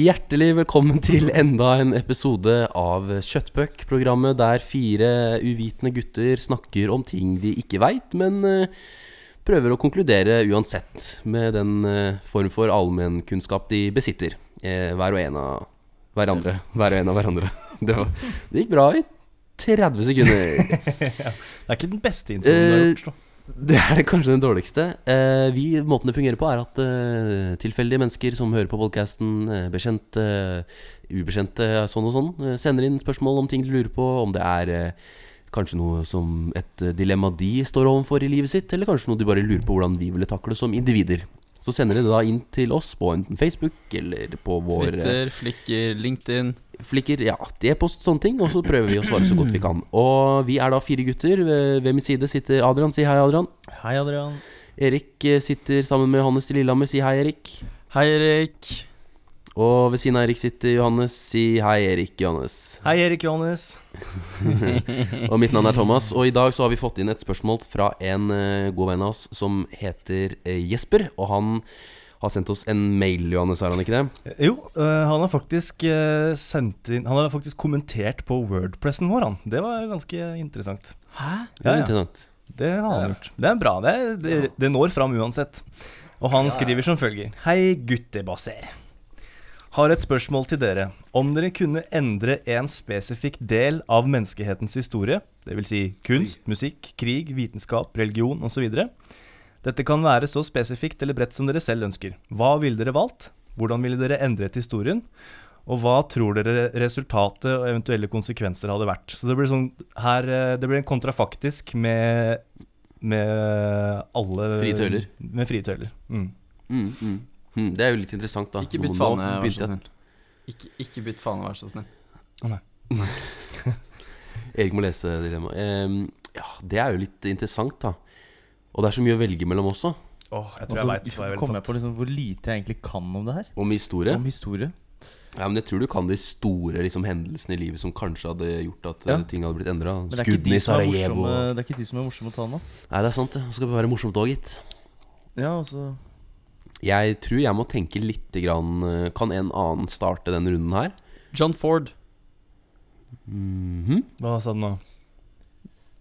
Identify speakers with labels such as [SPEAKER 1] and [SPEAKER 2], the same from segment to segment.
[SPEAKER 1] Hjertelig velkommen til enda en episode av Kjøttpuck, programmet der fire uvitende gutter snakker om ting de ikke veit, men eh, prøver å konkludere uansett med den eh, form for allmennkunnskap de besitter. eh, Hver og en av hverandre. Hver og en av hverandre. Det, var, det gikk bra i 30 sekunder.
[SPEAKER 2] Det er ikke den beste introen du har gjort. da.
[SPEAKER 1] Det er det kanskje den dårligste. Eh, vi, måten det fungerer på, er at eh, tilfeldige mennesker som hører på podkasten, eh, bekjente, eh, ubekjente, sånn og sånn, eh, sender inn spørsmål om ting de lurer på, om det er eh, kanskje noe som et eh, dilemma de står overfor i livet sitt, eller kanskje noe de bare lurer på hvordan vi ville takle som individer. Så sender de det da inn til oss på enten Facebook eller på vår eh,
[SPEAKER 3] Twitter, Flikker, LinkedIn.
[SPEAKER 1] flikker, ja, e-post, sånne ting. Og så prøver vi å svare så godt vi kan. Og vi er da fire gutter. Ved ved min side sitter Adrian. Si hei, Adrian.
[SPEAKER 2] Eh, Hei, Adrian.
[SPEAKER 1] Erik eh, sitter sammen med Johannes i Lillehammer. Si hei, Erik.
[SPEAKER 3] Hei, Erik.
[SPEAKER 1] Og ved siden av Erik sitter Johannes. Si hei, Erik. Johannes.
[SPEAKER 2] Hei, Erik Johannes.
[SPEAKER 1] Og mitt navn er Thomas. Og i dag så har vi fått inn et spørsmål fra en eh, god venn av oss som heter eh, Jesper. Og han har sendt oss en mail, Johannes, har han ikke det?
[SPEAKER 2] Jo, øh, han har faktisk øh, sendt inn Han har faktisk kommentert på Wordpressen vår, han. Det var ganske interessant.
[SPEAKER 3] Hæ?
[SPEAKER 1] Det er
[SPEAKER 2] Ja, ja.
[SPEAKER 1] interessant.
[SPEAKER 2] Det har
[SPEAKER 3] Ja.
[SPEAKER 2] han gjort. Det er bra. Det, det, det når fram uansett. Og han skriver som følger. Hei, guttebasser. Har et spørsmål til dere. Om dere kunne endre en spesifikk del av menneskehetens historie, dvs. Si kunst, musikk, krig, vitenskap, religion osv. Dette kan være så spesifikt eller bredt som dere selv ønsker. Hva ville dere valgt? Hvordan ville dere endret historien? Og hva tror dere resultatet og eventuelle konsekvenser hadde vært? Så det blir, sånn, her, eh, det blir en kontrafaktisk med, med alle
[SPEAKER 1] Frie tøyler.
[SPEAKER 2] Med frie tøyler. Mm.
[SPEAKER 1] Mm, mm. Mm, det er jo litt interessant, da.
[SPEAKER 3] Ikke bytt eh,
[SPEAKER 1] Nå- nå
[SPEAKER 3] fane, vær
[SPEAKER 1] begynte jeg-
[SPEAKER 3] så snill. Ikke, ikke bytt fane, vær så snill.
[SPEAKER 1] Erik må lese dilemmaet. Ehm, ja, det er jo litt interessant, da. Og det er så mye å velge mellom også.
[SPEAKER 2] Åh, jeg
[SPEAKER 4] Og
[SPEAKER 2] tror jeg veit
[SPEAKER 4] så
[SPEAKER 2] hva jeg ville
[SPEAKER 4] Altså, kom jeg
[SPEAKER 2] tatt.
[SPEAKER 4] på liksom hvor lite jeg egentlig kan om det her.
[SPEAKER 1] Om historie.
[SPEAKER 4] Om historie.
[SPEAKER 1] Ja, men Jeg tror du kan de store liksom, hendelsene i livet som kanskje hadde gjort at
[SPEAKER 4] Ja.
[SPEAKER 1] eh, ting hadde blitt endra.
[SPEAKER 4] Men det er, ikke
[SPEAKER 1] Skuddene
[SPEAKER 4] de
[SPEAKER 1] i
[SPEAKER 4] som er
[SPEAKER 1] Sarajevo.
[SPEAKER 4] morsomme,
[SPEAKER 1] og-
[SPEAKER 4] det er ikke de som er morsomme å ta nå.
[SPEAKER 1] Nei, det er sant, det. Det skal være morsomt òg, gitt.
[SPEAKER 4] Ja, altså
[SPEAKER 1] Jeg tror jeg må tenke lite grann eh, Kan en annen starte denne runden her?
[SPEAKER 3] John Ford.
[SPEAKER 1] Mhm.
[SPEAKER 2] Hva sa du nå?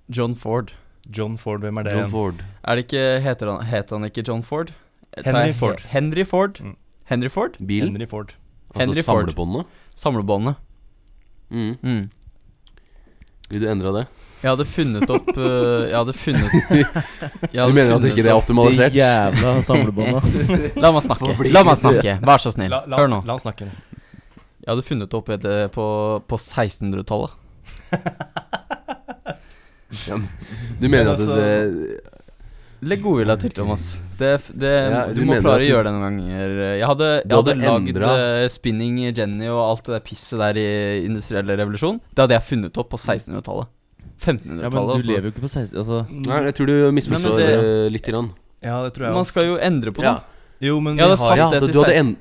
[SPEAKER 3] John Ford.
[SPEAKER 2] John Ford, hvem er det?
[SPEAKER 1] John Ford.
[SPEAKER 3] Er det ikke Heter han, het han ikke John Ford? Eh,
[SPEAKER 2] Henry
[SPEAKER 3] tar jeg he-
[SPEAKER 2] Ford.
[SPEAKER 3] Henry Ford.
[SPEAKER 2] Mm.
[SPEAKER 3] Henry Ford?
[SPEAKER 1] Bilen?
[SPEAKER 2] Henry Ford.
[SPEAKER 3] Henry
[SPEAKER 1] altså
[SPEAKER 3] Ford.
[SPEAKER 1] samlebåndet?
[SPEAKER 3] Samlebåndet.
[SPEAKER 1] Mm.
[SPEAKER 3] Mm.
[SPEAKER 1] Vil du endre det?
[SPEAKER 3] Jeg hadde funnet opp eh, Jeg hadde funnet jeg
[SPEAKER 1] Du
[SPEAKER 3] hadde
[SPEAKER 1] mener at
[SPEAKER 3] funnet
[SPEAKER 1] ikke det er
[SPEAKER 3] opp-
[SPEAKER 1] optimalisert?
[SPEAKER 4] De jævla samlebånda.
[SPEAKER 3] La
[SPEAKER 1] Hva
[SPEAKER 3] meg snakke.
[SPEAKER 1] blir
[SPEAKER 3] La meg snakke. Vær så snill.
[SPEAKER 2] La, la,
[SPEAKER 3] Hør nå.
[SPEAKER 2] la han snakke. nå.
[SPEAKER 3] Jeg hadde funnet opp et eh, på, på 1600-tallet.
[SPEAKER 1] Du mener at
[SPEAKER 2] altså-
[SPEAKER 1] det
[SPEAKER 3] Legg godvilja til, Thomas. Det, f- det,
[SPEAKER 1] Ja,
[SPEAKER 3] du
[SPEAKER 1] du
[SPEAKER 3] må
[SPEAKER 1] mener
[SPEAKER 3] klare
[SPEAKER 1] at
[SPEAKER 3] å
[SPEAKER 1] du-
[SPEAKER 3] gjøre det noen ganger. Jeg hadde,
[SPEAKER 1] Du
[SPEAKER 3] jeg hadde,
[SPEAKER 1] hadde
[SPEAKER 3] lagd
[SPEAKER 1] endret-
[SPEAKER 3] eh, Spinning Jenny og alt det der pisset der i industriell revolusjon. Det hadde jeg funnet opp på 1600-tallet.
[SPEAKER 4] Ja, men
[SPEAKER 3] 1500-tallet.
[SPEAKER 4] du
[SPEAKER 3] altså.
[SPEAKER 4] lever jo ikke på 16... Altså,
[SPEAKER 1] Nei, jeg tror du misforstår
[SPEAKER 3] Nei, men
[SPEAKER 1] eh, lite grann.
[SPEAKER 2] Ja, det tror jeg
[SPEAKER 3] Man
[SPEAKER 2] også.
[SPEAKER 3] skal jo endre på det.
[SPEAKER 1] Ja,
[SPEAKER 2] Jo, men
[SPEAKER 3] Ja,
[SPEAKER 2] vi
[SPEAKER 3] det er
[SPEAKER 2] har
[SPEAKER 3] sant.
[SPEAKER 1] ja
[SPEAKER 3] det
[SPEAKER 1] du,
[SPEAKER 3] til
[SPEAKER 1] du hadde
[SPEAKER 3] 16.
[SPEAKER 1] en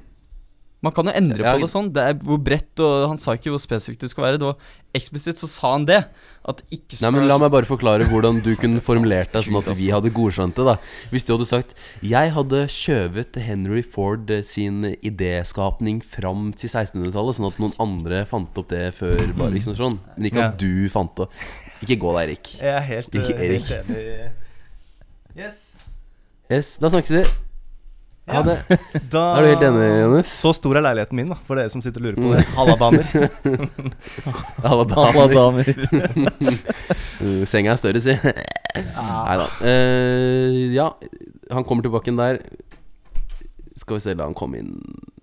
[SPEAKER 3] Man kan jo endre
[SPEAKER 1] Ja,
[SPEAKER 3] på det sånn. Det er hvor bredt og Han sa ikke hvor spesifikt det skulle være. Det var eksplisitt så sa han det. At det ikke
[SPEAKER 1] Nei,
[SPEAKER 3] skulle
[SPEAKER 1] men
[SPEAKER 3] være
[SPEAKER 1] La
[SPEAKER 3] så-
[SPEAKER 1] meg bare forklare hvordan du kunne formulert deg sånn at vi hadde godkjent det. da Hvis du hadde sagt 'Jeg hadde skjøvet Henry Ford eh, sin idéskapning fram til 1600-tallet', sånn at noen andre fant opp det før, bare liksom sånn. Men ikke at du fant det. Ikke gå der, Erik.
[SPEAKER 2] Jeg er helt,
[SPEAKER 1] Ikke
[SPEAKER 2] eh, helt enig. Yes.
[SPEAKER 1] Yes, da snakkes vi. Ha
[SPEAKER 2] Ja.
[SPEAKER 1] det.
[SPEAKER 2] Da
[SPEAKER 1] Er du helt enig, Johannes?
[SPEAKER 2] Så stor er leiligheten min, da, for dere som sitter og lurer på det. Hallabaner.
[SPEAKER 1] Alle
[SPEAKER 4] alle
[SPEAKER 1] damer.
[SPEAKER 4] damer.
[SPEAKER 1] Uh, Senga er større, si. Nei da. ja, han kommer tilbake igjen der. Skal vi se, la han komme inn.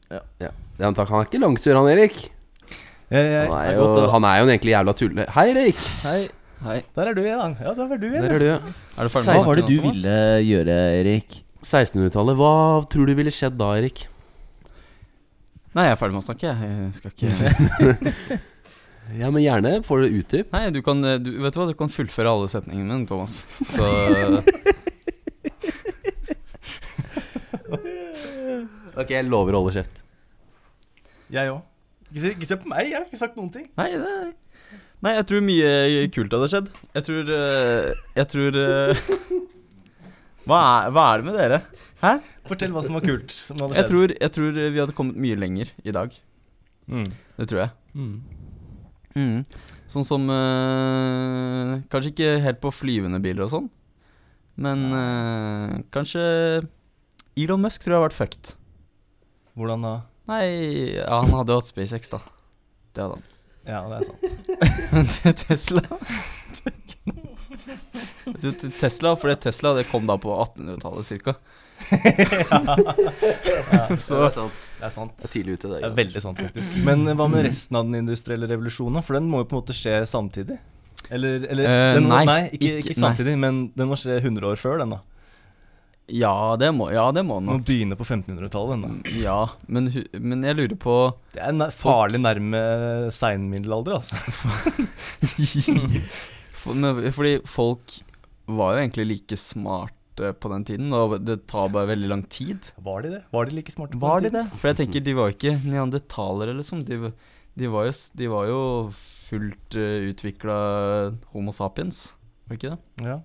[SPEAKER 4] Ja.
[SPEAKER 1] Ja. Ja, han er ikke langsur, han Erik.
[SPEAKER 2] Jeg, jeg,
[SPEAKER 1] Han
[SPEAKER 4] det
[SPEAKER 1] er
[SPEAKER 4] er
[SPEAKER 1] jo,
[SPEAKER 4] godt, det da.
[SPEAKER 1] han er jo en egentlig jævla tulle. Hei, Erik!
[SPEAKER 4] Hei.
[SPEAKER 3] Hei.
[SPEAKER 2] der er du igjen. Ja, der er du
[SPEAKER 1] Der
[SPEAKER 2] igjen.
[SPEAKER 1] er du.
[SPEAKER 3] Er du ferdig
[SPEAKER 4] Hva
[SPEAKER 3] med
[SPEAKER 4] var det du
[SPEAKER 3] snakken nå, Thomas?
[SPEAKER 4] ville gjøre, Erik?
[SPEAKER 1] 1600-tallet, hva tror du ville skjedd da, Erik?
[SPEAKER 3] Nei, jeg er ferdig med å snakke. jeg. Jeg skal ikke
[SPEAKER 1] Ja, men gjerne. Får du utdyp?
[SPEAKER 3] Nei, du kan eh, du, Vet du hva, du kan fullføre alle setningene mine, Thomas. Så
[SPEAKER 1] Ok, jeg lover å holde kjeft.
[SPEAKER 2] Jeg òg. Ikke, se- ikke se på meg, jeg har ikke sagt noen ting.
[SPEAKER 3] Nei, det Nei, jeg tror mye kult hadde skjedd. Jeg tror eh, Jeg tror eh, hva, er, hva er det med dere?
[SPEAKER 2] Fortell hva som var kult. Som hadde
[SPEAKER 3] Jeg eh,
[SPEAKER 2] skjedd.
[SPEAKER 3] tror, jeg tror vi hadde kommet mye lenger i dag.
[SPEAKER 2] Mm.
[SPEAKER 3] Det tror jeg.
[SPEAKER 2] Mm.
[SPEAKER 3] Mm. Sånn som eh, Kanskje ikke helt på flyvende biler og sånn, men eh, kanskje Elon Musk tror jeg har vært fucked.
[SPEAKER 2] Hvordan da?
[SPEAKER 3] Nei, ja, han hadde jo hatt SpaceX, da. Det hadde han.
[SPEAKER 2] Ja, det er sant.
[SPEAKER 3] Men Tesla Jeg tror til Tesla, fordi Tesla det kom da på 1800-tallet cirka. Så
[SPEAKER 2] Det er sant.
[SPEAKER 1] Det er tidlig ute i
[SPEAKER 2] Det er
[SPEAKER 1] dag.
[SPEAKER 2] veldig sant, faktisk. Men hva med resten av den industrielle revolusjonen? da? For den må jo på en måte skje samtidig? Eller, eller
[SPEAKER 3] Eh,
[SPEAKER 2] den må,
[SPEAKER 3] nei,
[SPEAKER 2] nei, ikke, ikke,
[SPEAKER 3] ikke-
[SPEAKER 2] samtidig, men den må skje 100 år før, den, da.
[SPEAKER 3] ja, det må, ja, det må
[SPEAKER 2] Den
[SPEAKER 3] han
[SPEAKER 2] må
[SPEAKER 3] nok. Mm.
[SPEAKER 2] begynne på 1500-tallet, den, da.
[SPEAKER 3] Ja, men, hu- men jeg lurer på
[SPEAKER 2] Det er nær- farlig nærme seinmiddelalder, altså.
[SPEAKER 3] For, men, fordi folk var jo egentlig like smarte på den tiden, og det tar bare veldig lang tid.
[SPEAKER 2] Var de det? Var de like smarte? på
[SPEAKER 3] Var de
[SPEAKER 2] den tiden?
[SPEAKER 3] det? For jeg tenker, de var ikke neandertalere, liksom. De, v- de, var, jo, s- de var jo fullt uh, utvikla Homo sapiens, var det ikke det?
[SPEAKER 2] Ja.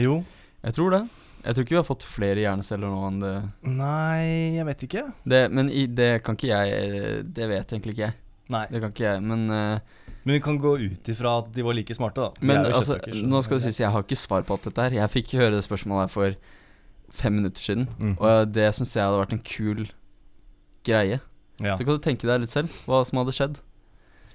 [SPEAKER 2] Jo.
[SPEAKER 3] Jeg tror det. Jeg tror ikke vi har fått flere hjerneceller nå enn det.
[SPEAKER 2] Nei, jeg vet ikke.
[SPEAKER 3] det men i, det kan ikke jeg Det vet egentlig ikke jeg.
[SPEAKER 2] Nei.
[SPEAKER 3] Det kan ikke jeg, men eh,
[SPEAKER 2] Men vi kan gå ut ifra at de var like smarte, da.
[SPEAKER 3] Men
[SPEAKER 2] Vi er jo
[SPEAKER 3] altså,
[SPEAKER 2] kjøttbøker, så-
[SPEAKER 3] nå skal det sies, jeg har ikke svar på alt dette her. Jeg fikk høre det spørsmålet her for fem minutter siden,
[SPEAKER 2] Mhm.
[SPEAKER 3] og det syns jeg hadde vært en kul greie.
[SPEAKER 2] ja.
[SPEAKER 3] Så kan du tenke deg litt selv hva som hadde skjedd.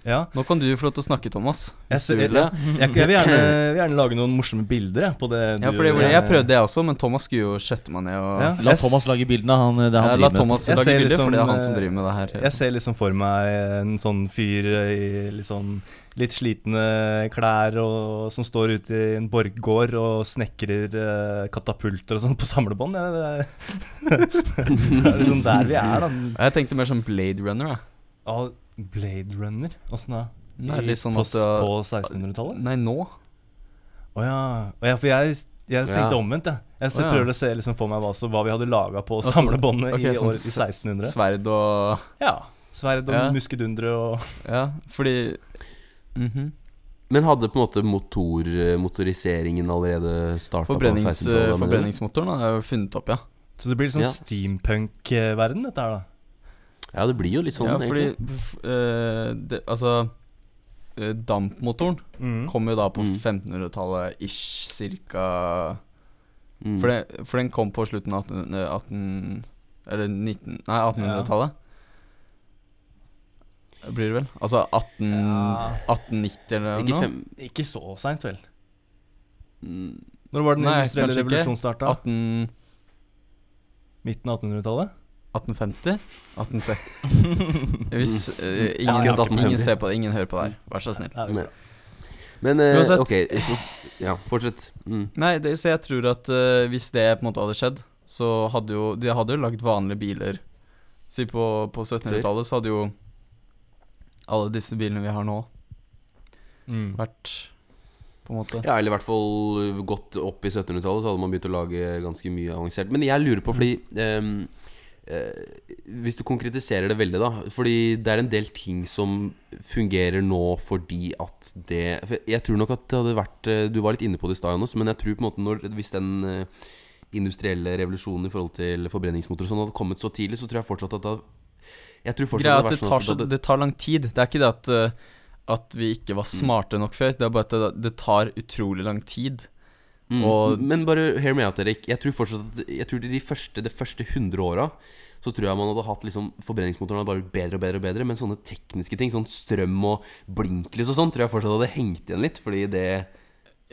[SPEAKER 2] ja.
[SPEAKER 3] Nå kan du få lov til å snakke, Thomas.
[SPEAKER 2] Jeg,
[SPEAKER 3] hvis
[SPEAKER 2] ser-
[SPEAKER 3] du vil det.
[SPEAKER 2] jeg, jeg, jeg vil, gjerne, vil gjerne lage noen morsomme bilder jeg, på det
[SPEAKER 3] Ja, for det, var- jeg prøvde det også, men Thomas skulle jo skjøtte meg ned og
[SPEAKER 2] Ja.
[SPEAKER 3] ja.
[SPEAKER 4] La
[SPEAKER 2] Jeg s-
[SPEAKER 4] Thomas lage bildene. Han, det han
[SPEAKER 3] La
[SPEAKER 4] driver med.
[SPEAKER 3] Thomas
[SPEAKER 2] Jeg
[SPEAKER 3] lage
[SPEAKER 2] ser
[SPEAKER 3] bilder,
[SPEAKER 2] liksom,
[SPEAKER 3] for det er han som
[SPEAKER 2] eh,
[SPEAKER 3] driver med det her.
[SPEAKER 2] Jeg ser liksom for meg en sånn fyr i litt sånn litt slitne klær og, som står ute i en borggård og snekrer eh, katapulter og sånn på samlebånd. Ja, det, det er liksom der vi er, da.
[SPEAKER 3] Og Jeg tenkte mer som Blade Runner. Jeg.
[SPEAKER 2] Ja, Blade Runner? Åssen da?
[SPEAKER 3] Nei,
[SPEAKER 2] I-
[SPEAKER 3] litt sånn
[SPEAKER 2] på,
[SPEAKER 3] at du,
[SPEAKER 2] på 1600-tallet?
[SPEAKER 3] Nei, nå.
[SPEAKER 2] Å ja. Å ja, for jeg, jeg tenkte
[SPEAKER 1] Ja.
[SPEAKER 2] omvendt, jeg. Jeg
[SPEAKER 3] Å ja.
[SPEAKER 2] prøvde å se liksom for meg hva, så, hva vi hadde laga på
[SPEAKER 3] Altså,
[SPEAKER 2] samlebåndet
[SPEAKER 3] ok,
[SPEAKER 2] i,
[SPEAKER 3] sånn
[SPEAKER 2] år, i 1600.
[SPEAKER 3] Sverd og
[SPEAKER 2] Ja. Sverd og
[SPEAKER 3] Ja.
[SPEAKER 2] muskedundere og
[SPEAKER 3] Ja, fordi Mhm.
[SPEAKER 1] Men hadde på en måte motor, motoriseringen allerede starta på
[SPEAKER 3] Forbrennings,
[SPEAKER 1] 1600-tallet? mener du?
[SPEAKER 3] forbrenningsmotoren da, er jo funnet opp, ja.
[SPEAKER 2] Så det blir litt sånn
[SPEAKER 1] Ja.
[SPEAKER 2] steampunk-verden, dette her, da.
[SPEAKER 1] Ja, det blir jo litt sånn,
[SPEAKER 3] ja, fordi
[SPEAKER 1] egentlig.
[SPEAKER 3] f- eh, det, Altså eh, Dampmotoren
[SPEAKER 2] Mm.
[SPEAKER 3] kom jo da på
[SPEAKER 1] Mm.
[SPEAKER 3] 1500-tallet ish, cirka.
[SPEAKER 1] Mm.
[SPEAKER 3] For, det, for den kom på slutten av 18, eh, 18 Eller 19 Nei, 1800-tallet. Blir det vel? Altså 18,
[SPEAKER 2] Ja.
[SPEAKER 3] 1890 eller
[SPEAKER 1] Ikke
[SPEAKER 3] noe?
[SPEAKER 1] fem...
[SPEAKER 2] Ikke så seint, vel.
[SPEAKER 1] Mm,
[SPEAKER 2] Når var den
[SPEAKER 3] Nei,
[SPEAKER 2] industrielle
[SPEAKER 3] kanskje ikke.
[SPEAKER 2] revolusjonen starta?
[SPEAKER 3] 18,
[SPEAKER 2] Midten av 1800-tallet?
[SPEAKER 3] 1850? 1860 Hvis eh,
[SPEAKER 1] Ja,
[SPEAKER 3] ingen,
[SPEAKER 1] akkurat 1850.
[SPEAKER 3] ingen ser på det, ingen hører på det her. Vær så snill.
[SPEAKER 2] Ja, det er
[SPEAKER 1] Nei.
[SPEAKER 2] bra.
[SPEAKER 1] Men eh,
[SPEAKER 3] Uansett.
[SPEAKER 1] ok, for, ja, fortsett. Mm.
[SPEAKER 3] Nei, det, så jeg tror at eh, hvis det på en måte hadde skjedd, så hadde jo De hadde jo lagd vanlige biler. Si på, på 1700-tallet så hadde jo alle disse bilene vi har nå,
[SPEAKER 2] Mm.
[SPEAKER 3] vært På en måte.
[SPEAKER 1] Ja, eller i hvert fall eh, gått opp i 1700-tallet, så hadde man begynt å lage ganske mye avansert. Men jeg lurer på, fordi ehm, eh, Hvis du konkretiserer det veldig, da. Fordi det er en del ting som fungerer nå fordi at det for Jeg tror nok at det hadde vært eh, Du var litt inne på det i stad, Johannes, men jeg tror på en måte når, hvis den eh, industrielle revolusjonen i forhold til forbrenningsmotor og sånn hadde kommet så tidlig, så tror jeg fortsatt at det hadde jeg tror fortsatt
[SPEAKER 3] Greia er
[SPEAKER 1] hadde
[SPEAKER 3] at
[SPEAKER 1] vært
[SPEAKER 3] det
[SPEAKER 1] sånn
[SPEAKER 3] tar,
[SPEAKER 1] at
[SPEAKER 3] så,
[SPEAKER 1] det hadde-
[SPEAKER 3] det tar lang tid. Det er ikke det at, eh, at vi ikke var smarte nok før, det er bare at det, det tar utrolig lang tid.
[SPEAKER 1] Mm.
[SPEAKER 3] Og-
[SPEAKER 1] men bare hear me out, Erik. Jeg tror fortsatt at Jeg tror de første, de første 100 åra så tror jeg man hadde hatt liksom forbrenningsmotoren hadde bare blitt bedre og bedre, og bedre men sånne tekniske ting, sånn strøm og blinklys og sånn, tror jeg fortsatt hadde hengt igjen litt. Fordi det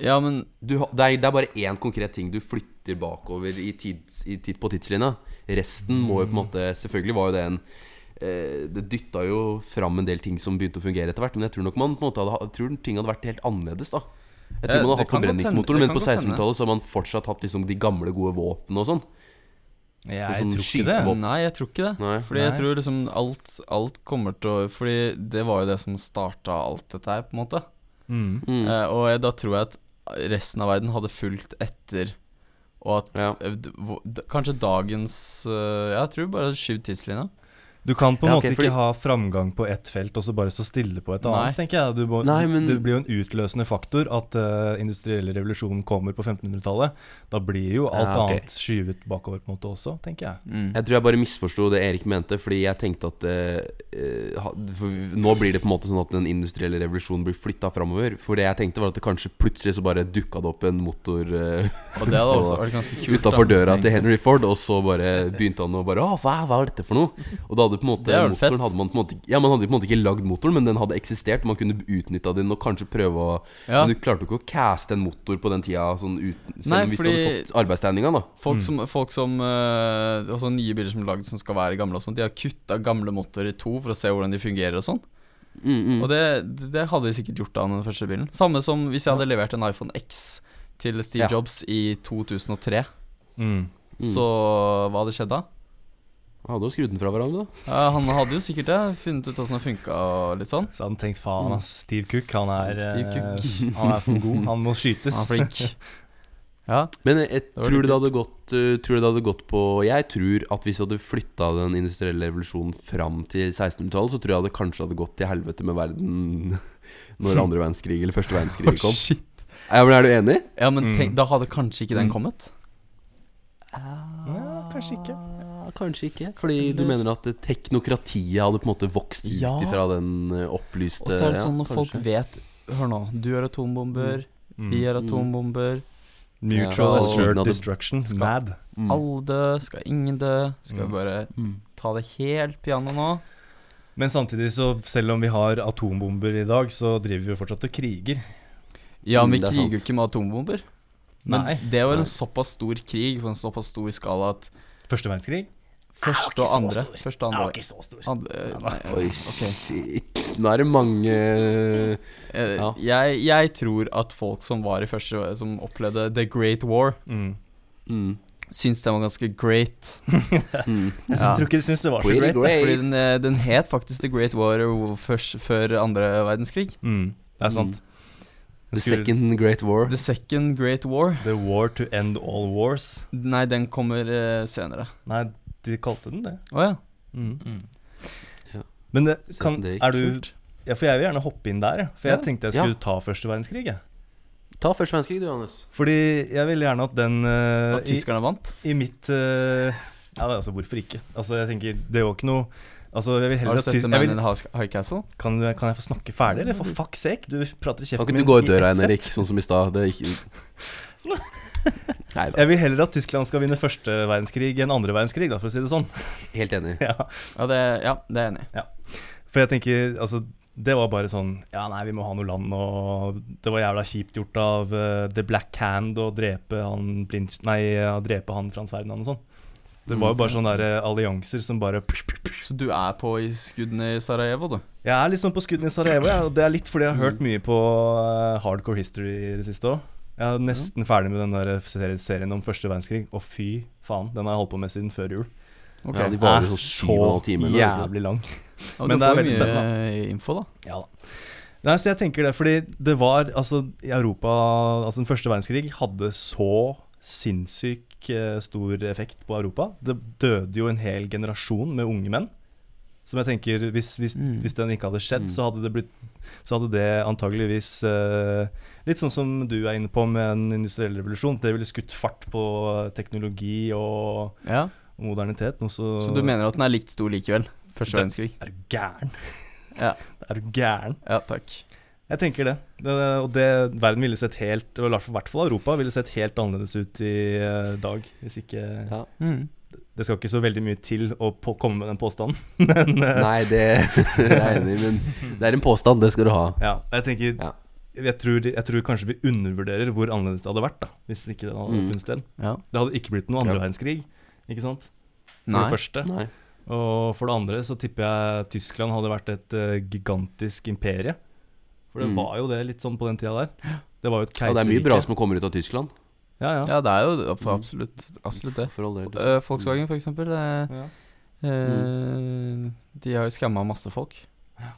[SPEAKER 3] Ja, men
[SPEAKER 1] du, ha- det, er, det er bare én konkret ting du flytter bakover i tids, i tid, på tidslinja. Resten må jo på en måte Selvfølgelig var jo det en eh, Det dytta jo fram en del ting som begynte å fungere etter hvert, men jeg tror nok man på en måte hadde, ha- tror ting hadde vært helt annerledes, da. Jeg tror man hadde hatt
[SPEAKER 3] Eh, det kan godt hende- det
[SPEAKER 1] forbrenningsmotoren, men
[SPEAKER 3] kan
[SPEAKER 1] på
[SPEAKER 3] godt hende.
[SPEAKER 1] 1600-tallet så har man fortsatt hatt liksom de gamle, gode våpnene og sånn.
[SPEAKER 2] Jeg
[SPEAKER 1] sånn
[SPEAKER 2] tror ikke det.
[SPEAKER 1] skytevåpen.
[SPEAKER 3] Nei, jeg tror ikke det.
[SPEAKER 1] Nei.
[SPEAKER 3] Fordi jeg
[SPEAKER 2] Nei.
[SPEAKER 3] tror liksom alt, alt kommer til å Fordi det var jo det som starta alt dette her, på en måte.
[SPEAKER 2] Mm.
[SPEAKER 1] Mm.
[SPEAKER 3] Eh, og jeg, da tror jeg at resten av verden hadde fulgt etter, og at
[SPEAKER 1] Ja.
[SPEAKER 3] eh, d- hvor- d- kanskje dagens eh, Jeg tror bare skyv tidslinja.
[SPEAKER 2] Du kan på en
[SPEAKER 1] Ja, ok,
[SPEAKER 2] måte
[SPEAKER 1] fordi-
[SPEAKER 2] ikke ha framgang på ett felt og så bare stå stille på et annet, tenker jeg. Du må,
[SPEAKER 1] Nei, men-
[SPEAKER 2] Det blir jo en utløsende faktor at uh, industrielle revolusjonen kommer på 1500-tallet. Da blir jo alt
[SPEAKER 1] Ja, ok.
[SPEAKER 2] annet skyvet bakover på en måte også, tenker jeg.
[SPEAKER 1] Mm.
[SPEAKER 3] Mm.
[SPEAKER 1] Jeg tror jeg bare misforsto det Erik mente, fordi jeg tenkte at eh, eh, ha- for Nå blir det på en måte sånn at den industrielle revolusjonen blir flytta framover. For det jeg tenkte, var at det kanskje plutselig så bare dukka det opp en motor eh,
[SPEAKER 3] Og det hadde også vært ganske kult. da,
[SPEAKER 1] utafor døra til
[SPEAKER 3] egentlig.
[SPEAKER 1] Henry Ford, og så bare begynte han å bare Å, hva, hva er dette for noe? Og da hadde på en måte
[SPEAKER 3] Det er
[SPEAKER 1] motoren
[SPEAKER 3] vel fett.
[SPEAKER 1] hadde man på en måte Ja, man hadde på en måte ikke lagd motoren, men den hadde eksistert. Man kunne utnytta den og kanskje prøve å
[SPEAKER 3] Ja,
[SPEAKER 1] Men du klarte jo ikke å caste en motor på den tida, sånn uten, selv
[SPEAKER 3] Nei,
[SPEAKER 1] om hvis du hadde
[SPEAKER 3] fordi-
[SPEAKER 1] fått arbeidstegninga, da.
[SPEAKER 3] Folk som, folk som eh, Altså nye biler som er lagd som skal være gamle og sånt, de har kutta gamle motorer i to for å se hvordan de fungerer og sånn.
[SPEAKER 1] Mm.
[SPEAKER 3] Og det, det hadde de sikkert gjort da med den første bilen. Samme som hvis jeg hadde levert en iPhone X til Steve
[SPEAKER 1] Ja.
[SPEAKER 3] Jobs i 2003.
[SPEAKER 2] Mm.
[SPEAKER 1] Mm.
[SPEAKER 3] Så hva hadde skjedd da?
[SPEAKER 1] Han hadde jo skrudd den fra hverandre, da.
[SPEAKER 3] Eh, han hadde jo sikkert det. Funnet ut åssen det funka og litt sånn.
[SPEAKER 2] Så hadde han tenkt faen,
[SPEAKER 1] Mm.
[SPEAKER 2] ass. Steve Cook, han er,
[SPEAKER 3] Steve
[SPEAKER 2] eh, han er for god. Han må skytes.
[SPEAKER 3] Han er flink. Ja.
[SPEAKER 1] Men jeg, jeg
[SPEAKER 3] var
[SPEAKER 1] tror
[SPEAKER 3] litt
[SPEAKER 1] det hadde gått eh, Tror det hadde gått på Jeg tror at hvis du hadde flytta den industrielle revolusjonen fram til 1600-tallet, så tror jeg det kanskje hadde gått til helvete med verden når andre verdenskrig eller første verdenskrig kom.
[SPEAKER 3] Oh, shit.
[SPEAKER 1] Ja, men Er du enig?
[SPEAKER 3] Ja, men
[SPEAKER 2] Mm.
[SPEAKER 3] tenk, da hadde kanskje ikke den
[SPEAKER 2] Mm.
[SPEAKER 3] kommet.
[SPEAKER 2] Ja, kanskje ikke.
[SPEAKER 1] Kanskje ikke. Fordi du mener at eh, teknokratiet hadde på en måte vokst ut
[SPEAKER 3] Ja.
[SPEAKER 1] ifra den eh, opplyste
[SPEAKER 3] Og så er det
[SPEAKER 1] ja,
[SPEAKER 3] sånn når folk
[SPEAKER 1] kanskje.
[SPEAKER 3] vet Hør nå, du gjør atombomber,
[SPEAKER 2] Mm.
[SPEAKER 3] vi gjør
[SPEAKER 1] Mm.
[SPEAKER 3] atombomber.
[SPEAKER 2] Mutual
[SPEAKER 1] Ja.
[SPEAKER 2] assured
[SPEAKER 1] Siden av det-
[SPEAKER 2] destruction.
[SPEAKER 3] Skal-
[SPEAKER 2] Mad.
[SPEAKER 1] Mm.
[SPEAKER 3] Alle dø, skal ingen dø. Skal
[SPEAKER 2] Mm.
[SPEAKER 3] vi bare
[SPEAKER 1] Mm.
[SPEAKER 3] ta det helt piano nå?
[SPEAKER 2] Men samtidig, så selv om vi har atombomber i dag, så driver vi jo fortsatt og kriger.
[SPEAKER 3] Ja, men
[SPEAKER 1] Mm,
[SPEAKER 3] vi
[SPEAKER 1] det er
[SPEAKER 3] kriger jo
[SPEAKER 1] sant.
[SPEAKER 3] ikke med atombomber. Men
[SPEAKER 2] Nei.
[SPEAKER 3] det var
[SPEAKER 1] Nei.
[SPEAKER 3] en såpass stor krig på en såpass stor skala at
[SPEAKER 2] Første verdenskrig?
[SPEAKER 3] første og andre Første
[SPEAKER 2] Den
[SPEAKER 3] og
[SPEAKER 2] var
[SPEAKER 3] andre,
[SPEAKER 2] ikke så stor.
[SPEAKER 3] andre nei,
[SPEAKER 1] Oi,
[SPEAKER 3] ok.
[SPEAKER 1] shit. Nå er det mange
[SPEAKER 3] Eh,
[SPEAKER 1] Ja.
[SPEAKER 3] jeg, jeg tror at folk som var i første Som opplevde The Great War,
[SPEAKER 2] Mm.
[SPEAKER 1] mm.
[SPEAKER 3] syns den var ganske great.
[SPEAKER 1] Mm.
[SPEAKER 2] Jeg
[SPEAKER 3] Ja.
[SPEAKER 2] tror ikke de syns det var så
[SPEAKER 1] Pretty
[SPEAKER 2] great.
[SPEAKER 1] great.
[SPEAKER 3] Fordi den, eh, den het faktisk The Great War eh, først, før andre verdenskrig.
[SPEAKER 2] Mm. Det er sant.
[SPEAKER 1] The
[SPEAKER 2] Skulle-
[SPEAKER 1] second great war.
[SPEAKER 3] The Second Great War.
[SPEAKER 2] The war to end all wars.
[SPEAKER 3] Nei, den kommer eh, senere.
[SPEAKER 2] Nei, de kalte den det.
[SPEAKER 3] Å ja.
[SPEAKER 2] Mm.
[SPEAKER 3] Mm.
[SPEAKER 2] Men det,
[SPEAKER 1] Synes
[SPEAKER 2] kan,
[SPEAKER 1] det gikk
[SPEAKER 2] er du ja, For jeg vil gjerne hoppe inn der, jeg. for jeg
[SPEAKER 1] Ja.
[SPEAKER 2] tenkte jeg
[SPEAKER 1] Ja.
[SPEAKER 2] skulle ta første verdenskrig. Jeg.
[SPEAKER 1] Ta første verdenskrig, du, Johannes.
[SPEAKER 2] Fordi jeg ville gjerne at den eh,
[SPEAKER 3] At tyskerne vant?
[SPEAKER 2] i, i mitt eh, Ja, altså, hvorfor ikke? Altså, jeg tenker, det var ikke noe Altså, jeg vil
[SPEAKER 3] Har
[SPEAKER 2] heller
[SPEAKER 3] du
[SPEAKER 2] at
[SPEAKER 3] sett
[SPEAKER 2] tys- jeg
[SPEAKER 3] The Man
[SPEAKER 2] vil,
[SPEAKER 3] in the House- High Castle?
[SPEAKER 2] kan, du- kan jeg få snakke ferdig, eller? For fuck's sake, du prater i
[SPEAKER 1] Kan
[SPEAKER 2] kjeften
[SPEAKER 1] ikke du gå i
[SPEAKER 2] i
[SPEAKER 1] døra igjen,
[SPEAKER 2] ett sett.
[SPEAKER 1] Erik, sånn som i stad? Det er ikke Nei da,
[SPEAKER 2] Jeg vil heller at Tyskland skal vinne første verdenskrig enn andre verdenskrig, da, for å si det sånn.
[SPEAKER 1] helt enig.
[SPEAKER 2] Ja.
[SPEAKER 3] Ja, det, ja, det er jeg enig i.
[SPEAKER 2] For jeg tenker, altså det var bare sånn Ja, nei, vi må ha noe land, og det var jævla kjipt gjort av eh, The Black Hand å drepe han Blinch... Nei, ja, drepe han Frans Ferdinand og sånn. Det var jo
[SPEAKER 1] Mm.
[SPEAKER 2] bare sånne der, eh, allianser som bare
[SPEAKER 3] Så du er på i skuddene i Sarajevo, du?
[SPEAKER 2] Jeg er litt sånn på skuddene i Sarajevo, jeg, og det er litt fordi jeg har
[SPEAKER 1] Mm.
[SPEAKER 2] hørt mye på eh, hardcore history i det siste òg. Jeg er nesten ferdig med den der serien- serien om første verdenskrig, og fy faen, den har jeg holdt på med siden før jul.
[SPEAKER 3] Ok.
[SPEAKER 1] Ja, de varer
[SPEAKER 2] Er
[SPEAKER 1] sånn syv og en halv time. eller noe, ikke sant?
[SPEAKER 2] jævlig lang.
[SPEAKER 3] Ja,
[SPEAKER 2] men
[SPEAKER 3] du
[SPEAKER 2] det er
[SPEAKER 3] får jo
[SPEAKER 2] veldig
[SPEAKER 3] mye info, da.
[SPEAKER 2] Ja da. Nei, så jeg tenker det, fordi det var altså i Europa Altså den første verdenskrig hadde så sinnssyk eh, stor effekt på Europa. Det døde jo en hel generasjon med unge menn. Som jeg tenker, hvis, hvis,
[SPEAKER 3] Mm.
[SPEAKER 2] hvis den ikke hadde skjedd,
[SPEAKER 1] Mm.
[SPEAKER 2] så hadde det blitt Så hadde det antageligvis eh, Litt sånn som du er inne på med en industriell revolusjon. Det ville skutt fart på eh, teknologi og
[SPEAKER 3] Ja.
[SPEAKER 2] modernitet. Noe så
[SPEAKER 3] Så du mener at den er litt stor likevel? Første
[SPEAKER 2] Det-
[SPEAKER 3] verdenskrig?
[SPEAKER 2] Er du gæren?
[SPEAKER 3] Ja.
[SPEAKER 2] Er du gæren?
[SPEAKER 3] Ja, takk.
[SPEAKER 2] Jeg tenker det. det og det, verden ville sett helt, og i hvert fall- i hvert fall Europa, ville sett helt annerledes ut i eh, dag. Hvis ikke
[SPEAKER 1] Ja.
[SPEAKER 3] Mm.
[SPEAKER 2] Det skal ikke så veldig mye til å på, komme med den påstanden, men eh,
[SPEAKER 1] Nei, det jeg er jeg enig i, men det er en påstand. Det skal du ha.
[SPEAKER 2] ja, jeg tenker
[SPEAKER 1] Ja.
[SPEAKER 2] jeg, tror, jeg tror kanskje vi undervurderer hvor annerledes det hadde vært da, hvis ikke det hadde
[SPEAKER 1] Mm.
[SPEAKER 2] funnet sted.
[SPEAKER 3] Ja.
[SPEAKER 2] Det hadde ikke blitt noe andre
[SPEAKER 1] Ja.
[SPEAKER 2] verdenskrig, ikke sant? For
[SPEAKER 3] Nei.
[SPEAKER 2] det første.
[SPEAKER 1] Nei.
[SPEAKER 2] Og for det andre så tipper jeg Tyskland hadde vært et eh, gigantisk imperie. For det
[SPEAKER 1] Mm.
[SPEAKER 2] var jo det litt sånn på den tida der. Det var jo et
[SPEAKER 1] Ja, det
[SPEAKER 2] keiserrike.
[SPEAKER 1] er mye bra som kommer ut av Tyskland.
[SPEAKER 2] ja, ja. Mm.
[SPEAKER 3] Ja, det er jo det, for absolutt, absolutt det.
[SPEAKER 1] For all del.
[SPEAKER 3] Eh, Volkswagen, for eksempel. eh,
[SPEAKER 2] Ja.
[SPEAKER 1] Mm.
[SPEAKER 3] eh, de har jo skamma masse folk.
[SPEAKER 2] Det,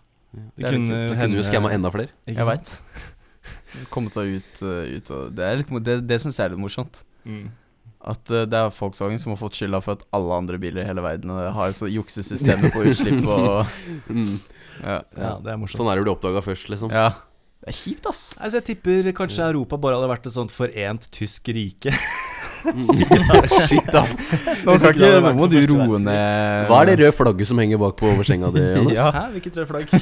[SPEAKER 3] Det er litt
[SPEAKER 2] kunne,
[SPEAKER 3] kult.
[SPEAKER 1] Det kunne jo skamma enda flere.
[SPEAKER 2] Ikke
[SPEAKER 3] Jeg
[SPEAKER 2] sant?
[SPEAKER 3] veit. Komme seg ut, eh, ut av Det, er litt mo- det, det syns jeg er litt morsomt.
[SPEAKER 2] Mm.
[SPEAKER 3] At eh, det er Volkswagen som har fått skylda for at alle andre biler i hele verden eh, har så juksesystemer på utslipp og
[SPEAKER 1] Mm.
[SPEAKER 3] Ja.
[SPEAKER 2] Ja, det er morsomt.
[SPEAKER 1] Sånn er det å bli oppdaga først, liksom.
[SPEAKER 3] ja. Det er kjipt, ass.
[SPEAKER 2] Altså, jeg tipper kanskje Europa bare hadde vært et sånt forent tysk rike.
[SPEAKER 1] Mm. Shit, ass.
[SPEAKER 3] Nå,
[SPEAKER 2] skal ikke- nå
[SPEAKER 3] må du roe ned
[SPEAKER 1] Hva er det røde flagget som henger bak på oversenga di, Johannes?
[SPEAKER 2] Hæ, hvilket rødt flagg?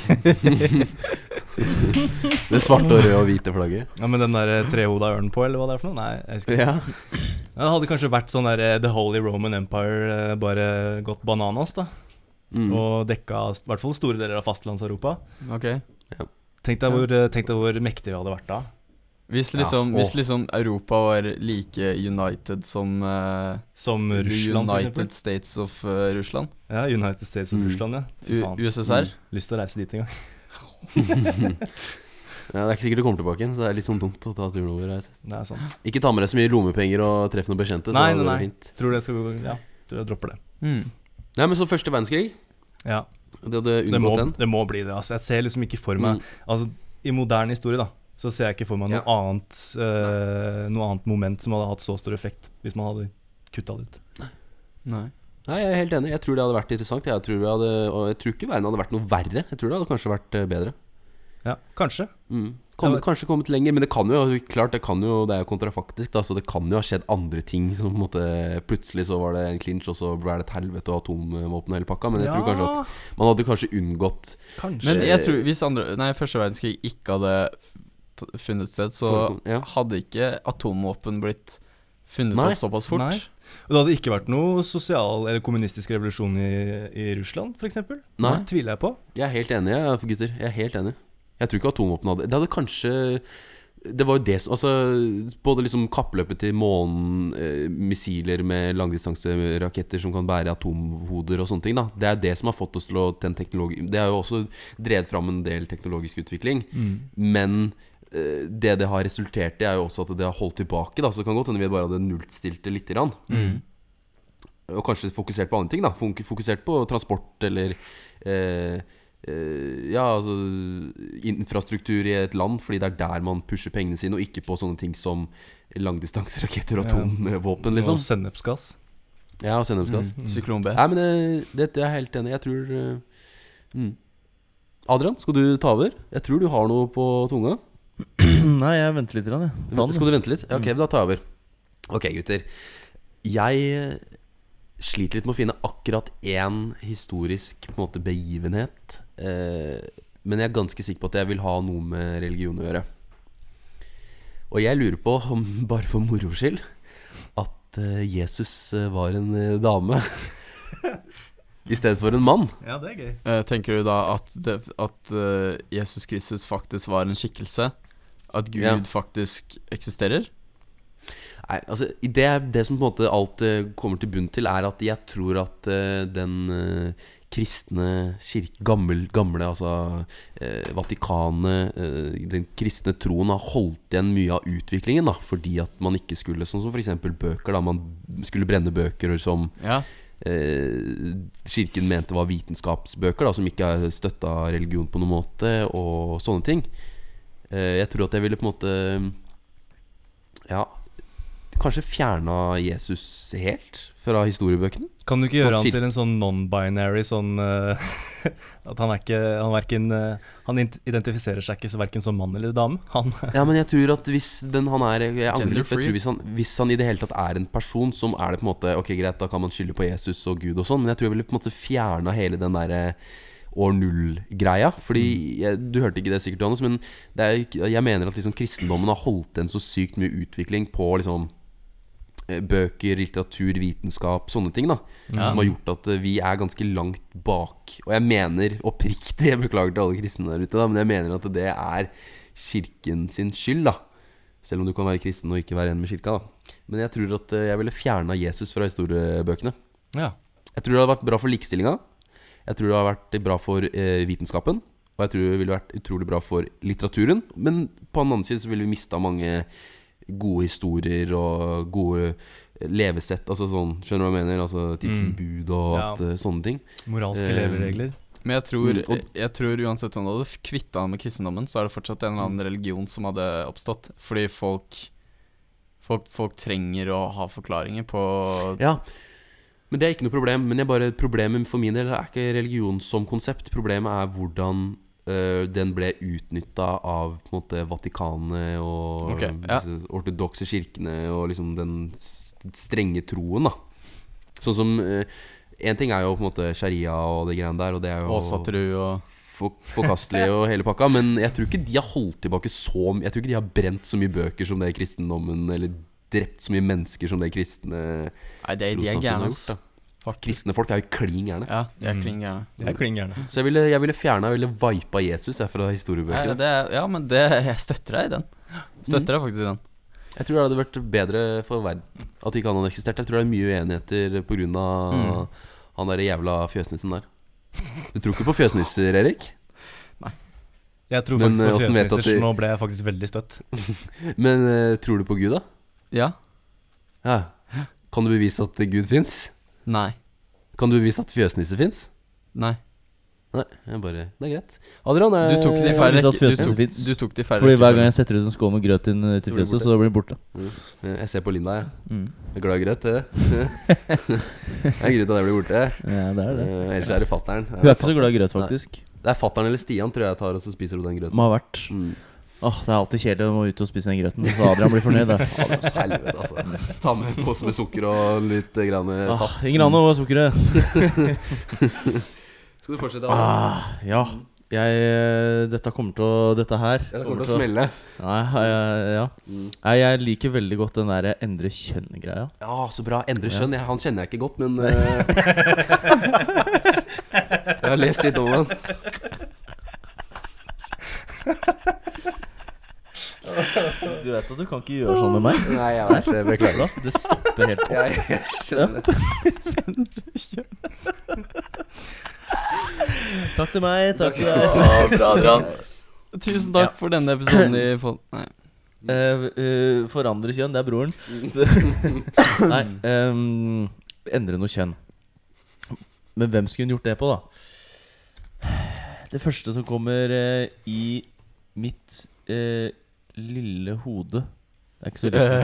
[SPEAKER 1] Det svarte og røde og hvite flagget?
[SPEAKER 2] Ja, men den der eh, trehoda ørnen på, eller hva det er for noe? Nei, jeg husker ikke.
[SPEAKER 1] Ja.
[SPEAKER 2] Det hadde kanskje vært sånn der eh, The Holy Roman Empire, eh, bare gått bananas, da.
[SPEAKER 1] Mm.
[SPEAKER 2] Og dekka i hvert fall store deler av fastlands-Europa.
[SPEAKER 3] Ok
[SPEAKER 2] Tenk deg hvor, eh, tenk deg hvor mektige vi hadde vært da.
[SPEAKER 3] Hvis liksom,
[SPEAKER 1] Ja,
[SPEAKER 3] hvis
[SPEAKER 1] åh.
[SPEAKER 3] liksom Europa var like united som eh,
[SPEAKER 2] Som Russland,
[SPEAKER 3] The
[SPEAKER 2] for eksempel.
[SPEAKER 3] United States of eh, Russland,
[SPEAKER 2] Ja, United States of
[SPEAKER 1] Mm.
[SPEAKER 2] Russland, ja. Fy
[SPEAKER 3] U
[SPEAKER 2] faen.
[SPEAKER 3] USSR
[SPEAKER 2] Lyst til å reise dit en gang.
[SPEAKER 1] Ja, det er ikke sikkert du kommer tilbake igjen, så det er litt sånn dumt å ta turen over. her.
[SPEAKER 2] Det er sant.
[SPEAKER 1] Ikke ta med deg så mye lommepenger og treff noen bekjente. Så
[SPEAKER 2] Nei,
[SPEAKER 1] det
[SPEAKER 2] nei,
[SPEAKER 1] går
[SPEAKER 2] nei.
[SPEAKER 1] fint.
[SPEAKER 2] Tror det skal gå Ja, tror jeg dropper det.
[SPEAKER 3] Mm.
[SPEAKER 1] nei, men så første verdenskrig.
[SPEAKER 2] Ja.
[SPEAKER 1] Du hadde
[SPEAKER 2] Det må,
[SPEAKER 1] unngått den.
[SPEAKER 2] det må bli det. Altså. Jeg ser liksom ikke for meg
[SPEAKER 1] Mm.
[SPEAKER 2] Altså, i moderne historie, da, så ser jeg ikke for meg noe, annet, eh, noe annet moment som hadde hatt så stor effekt, hvis man hadde kutta det ut.
[SPEAKER 3] Nei.
[SPEAKER 1] Nei, jeg er helt enig. Jeg tror det hadde vært interessant. Jeg tror, jeg hadde, og jeg tror ikke verden hadde vært noe verre. Jeg tror det hadde kanskje vært eh, bedre.
[SPEAKER 2] Ja, kanskje.
[SPEAKER 1] Mm. Kommet, kanskje kommet lenger, men det kan jo altså, Klart, det kan jo Det er jo kontrafaktisk, da, så det kan jo ha skjedd andre ting. Som på en måte Plutselig så var det en clinch, og så ble det et helvete og atomvåpen og hele pakka. Men jeg tror kanskje at man hadde kanskje unngått
[SPEAKER 2] kanskje.
[SPEAKER 3] Men jeg tror hvis andre Nei, første verdenskrig ikke hadde f- t- funnet sted, så
[SPEAKER 1] ja.
[SPEAKER 3] hadde ikke atomvåpen blitt funnet
[SPEAKER 1] Nei.
[SPEAKER 3] opp såpass fort.
[SPEAKER 2] Nei. Og det hadde ikke vært noe sosial eller kommunistisk revolusjon i, i Russland, f.eks.
[SPEAKER 1] Nei.
[SPEAKER 2] Det tviler jeg på.
[SPEAKER 1] Jeg er helt enig, jeg, gutter. Jeg er helt enig. Jeg tror ikke atomvåpen hadde Det hadde kanskje Det var jo det som Altså, både liksom kappløpet til månen, eh, missiler med langdistanseraketter som kan bære atomhoder og sånne ting, da. Det er det som har fått oss til å den teknologi... Det har jo også drevet fram en del teknologisk utvikling.
[SPEAKER 2] Mm.
[SPEAKER 1] Men eh, det det har resultert i, er jo også at det har holdt tilbake, da. Så det kan godt hende vi bare hadde nullstilt det lite grann.
[SPEAKER 2] Mm.
[SPEAKER 1] Og kanskje fokusert på andre ting, da. Fok- Fokusert på transport eller eh, eh, Ja, altså infrastruktur i et land, fordi det er der man pusher pengene sine, og ikke på sånne ting som langdistanseraketter og
[SPEAKER 2] Ja.
[SPEAKER 1] atomvåpen,
[SPEAKER 2] Liksom.
[SPEAKER 1] liksom.
[SPEAKER 2] Og sennepsgass.
[SPEAKER 1] Ja, og sennepsgass.
[SPEAKER 3] Syklon B.
[SPEAKER 1] Nei, men eh, det, det er jeg helt enig i. Jeg tror eh, mm. Adrian, skal du ta over? Jeg tror du har noe på tunga.
[SPEAKER 4] Nei, jeg venter litt, grann, jeg. Ta den,
[SPEAKER 1] Skal du vente litt? Ja, Ok, da tar jeg over. Ok, gutter. Jeg eh, sliter litt med å finne akkurat én historisk på en måte, begivenhet. Eh, men jeg er ganske sikker på at jeg vil ha noe med religion å gjøre. Og jeg lurer på, om, bare for moro skyld, at eh, Jesus eh, var en eh, dame i stedet for en mann.
[SPEAKER 2] Ja, det er gøy.
[SPEAKER 3] Eh, tenker du da at, det, at eh, Jesus Kristus faktisk var en skikkelse? At Gud
[SPEAKER 1] Ja.
[SPEAKER 3] faktisk eksisterer?
[SPEAKER 1] Nei, altså det, det som på en måte alt eh, kommer til bunn til, er at jeg tror at eh, den eh, kristne kirke, gammel, gamle, altså eh, Vatikanet, eh, den kristne troen har holdt igjen mye av utviklingen, da, fordi at man ikke skulle, sånn som f.eks. bøker, da, man skulle brenne bøker som
[SPEAKER 3] Ja.
[SPEAKER 1] eh, kirken mente var vitenskapsbøker, da, som ikke støtta religion på noen måte, og sånne ting. Eh, jeg tror at jeg ville på en måte Ja, kanskje fjerna Jesus helt fra historiebøkene.
[SPEAKER 2] Kan du ikke gjøre
[SPEAKER 1] Sånn
[SPEAKER 2] han
[SPEAKER 1] kir-
[SPEAKER 2] til en sånn non-binary sånn eh, At han er ikke Han, hverken, eh, han int- identifiserer seg ikke så verken som mann eller dame. Han
[SPEAKER 1] Ja, men jeg tror at hvis den han er Jeg angrer litt. for Jeg
[SPEAKER 3] Gender-free.
[SPEAKER 1] tror hvis, han, hvis han i det hele tatt er en person, som er det på en måte Ok, greit, da kan man skylde på Jesus og Gud og sånn, men jeg tror jeg ville på en måte fjerna hele den derre år null-greia. Fordi jeg, Du hørte ikke det sikkert, Johannes, men det er, jo ikke- jeg mener at liksom kristendommen har holdt igjen så sykt mye utvikling på liksom eh, Bøker, litteratur, vitenskap, sånne ting. da
[SPEAKER 3] Ja.
[SPEAKER 1] Som har gjort at eh, vi er ganske langt bak. Og jeg mener oppriktig, jeg beklager til alle kristne der ute, da, men jeg mener at det er kirken sin skyld. da Selv om du kan være kristen og ikke være en med kirka. da Men jeg tror at eh, jeg ville fjerna Jesus fra historiebøkene.
[SPEAKER 2] Ja.
[SPEAKER 1] Jeg tror det hadde vært bra for likestillinga. Jeg tror det hadde vært bra for eh, vitenskapen. Og jeg tror det ville vært utrolig bra for litteraturen. Men på den annen side så ville vi mista mange gode historier og gode levesett. Altså sånn, skjønner du hva jeg mener? Altså ti ti
[SPEAKER 2] Mm.
[SPEAKER 1] bud og
[SPEAKER 2] Ja.
[SPEAKER 1] at, eh, sånne ting.
[SPEAKER 2] Moralske
[SPEAKER 1] Eh,
[SPEAKER 2] leveregler.
[SPEAKER 3] Men jeg tror,
[SPEAKER 1] Mm, og-
[SPEAKER 3] jeg tror uansett om du hadde kvitta han med kristendommen, så er det fortsatt en eller annen religion som hadde oppstått. Fordi folk Folk, folk trenger å ha forklaringer på
[SPEAKER 1] Ja men det er ikke noe problem. Men jeg bare, problemet for min del er ikke religion som konsept. Problemet er hvordan eh, den ble utnytta av på en måte, Vatikanet og
[SPEAKER 3] Ok, ja.
[SPEAKER 1] disse ortodokse kirkene og liksom den s- strenge troen, da. Sånn som Én ting er jo på en måte sharia og det greiene der, og det er jo
[SPEAKER 3] Åsatru og
[SPEAKER 1] for, forkastelig og hele pakka, men jeg tror ikke de har holdt tilbake så mye Jeg tror ikke de har brent så mye bøker som det kristendommen, eller drept så mye mennesker som det kristne
[SPEAKER 3] Nei, de, de er
[SPEAKER 1] trossamfunnet
[SPEAKER 3] gærne,
[SPEAKER 1] har
[SPEAKER 3] ass.
[SPEAKER 1] gjort. Da. Kristne folk er jo klin gærne.
[SPEAKER 3] Ja, de er
[SPEAKER 2] Mm.
[SPEAKER 3] klin gærne.
[SPEAKER 2] Det er kling gærne.
[SPEAKER 1] Så jeg ville, jeg ville fjerna eller vipa Jesus jeg, fra
[SPEAKER 3] Nei,
[SPEAKER 1] historiebøkene.
[SPEAKER 3] det er- Ja, men det, jeg støtter deg i den. Støtter deg faktisk i den.
[SPEAKER 1] Jeg tror det hadde vært bedre for verden at ikke han hadde eksistert. Jeg tror det er mye uenigheter pga.
[SPEAKER 3] Mm.
[SPEAKER 1] han derre jævla fjøsnissen der. Du tror ikke på fjøsnisser, Erik?
[SPEAKER 2] Jeg tror
[SPEAKER 1] Men,
[SPEAKER 2] faktisk
[SPEAKER 1] eh,
[SPEAKER 2] på
[SPEAKER 1] hvordan vet du at
[SPEAKER 2] fjøsnisser,
[SPEAKER 1] de-
[SPEAKER 2] så nå ble jeg faktisk veldig støtt.
[SPEAKER 1] Men eh, tror du på Gud, da?
[SPEAKER 3] Ja.
[SPEAKER 1] Ja. Kan du bevise at Gud fins?
[SPEAKER 3] Nei.
[SPEAKER 1] Kan du bevise at fjøsnisser fins?
[SPEAKER 3] Nei.
[SPEAKER 1] Nei, jeg bare Det er greit. Adrian, eh, er
[SPEAKER 3] Du tok det i feil
[SPEAKER 4] hvis at
[SPEAKER 3] rekke. Du
[SPEAKER 4] fjøsnissen
[SPEAKER 3] tok,
[SPEAKER 4] finnes.
[SPEAKER 3] du tok det i feil
[SPEAKER 4] Fordi hver gang
[SPEAKER 3] rekke.
[SPEAKER 4] jeg setter ut en skål med grøt inn
[SPEAKER 1] Så blir
[SPEAKER 4] eh, til
[SPEAKER 1] det
[SPEAKER 4] fjøset,
[SPEAKER 1] borte.
[SPEAKER 4] så blir den borte.
[SPEAKER 1] Jeg ser på Linda, jeg.
[SPEAKER 4] Mm.
[SPEAKER 1] Jeg er glad i grøt, det. Det er greit at jeg blir borte.
[SPEAKER 4] Ja, det er det.
[SPEAKER 1] Eh, Ellers er det fatter'n.
[SPEAKER 4] Hun er ikke så glad i grøt, faktisk.
[SPEAKER 1] Det er fatter'n eller Stian, tror jeg jeg tar og så spiser hun den grøten.
[SPEAKER 4] Må ha vært.
[SPEAKER 1] Mm.
[SPEAKER 4] Åh, Det er alltid kjedelig å må ut og spise den grøten, så Adrian blir fornøyd. Da.
[SPEAKER 1] Fader, altså, helvete, altså. Ta med en pose med sukker og litt eh, grann eh,
[SPEAKER 4] Ah,
[SPEAKER 1] saft. Mm.
[SPEAKER 4] ingen annen over sukkeret.
[SPEAKER 1] Skal du fortsette? Adrian?
[SPEAKER 4] Ah, ja. Jeg eh, Dette kommer til å Dette her
[SPEAKER 1] Ja, det kommer til å smelle.
[SPEAKER 4] Nei, jeg, ja.
[SPEAKER 1] Mm.
[SPEAKER 4] Nei, jeg liker veldig godt den derre endre kjønn-greia.
[SPEAKER 1] Ja, så bra. Endre skjønn. Jeg, han kjenner jeg ikke godt, men eh, Jeg har lest litt om han.
[SPEAKER 4] Du vet at du kan ikke gjøre sånn med meg?
[SPEAKER 1] Nei, jeg vet det. Beklager.
[SPEAKER 4] Lars, det stopper helt opp.
[SPEAKER 1] Jeg, jeg skjønner det.
[SPEAKER 4] Takk til meg. Takk til
[SPEAKER 3] Ja,
[SPEAKER 4] deg.
[SPEAKER 3] bra, Adrian. Tusen takk for denne episoden i Fol- Nei.
[SPEAKER 4] Eh, eh, forandre kjønn, det er broren. Nei, ehm, endre noe kjønn. Men hvem skulle hun gjort det på, da? Det første som kommer eh, i mitt eh, lille hode Det er ikke så lett.
[SPEAKER 3] Eh,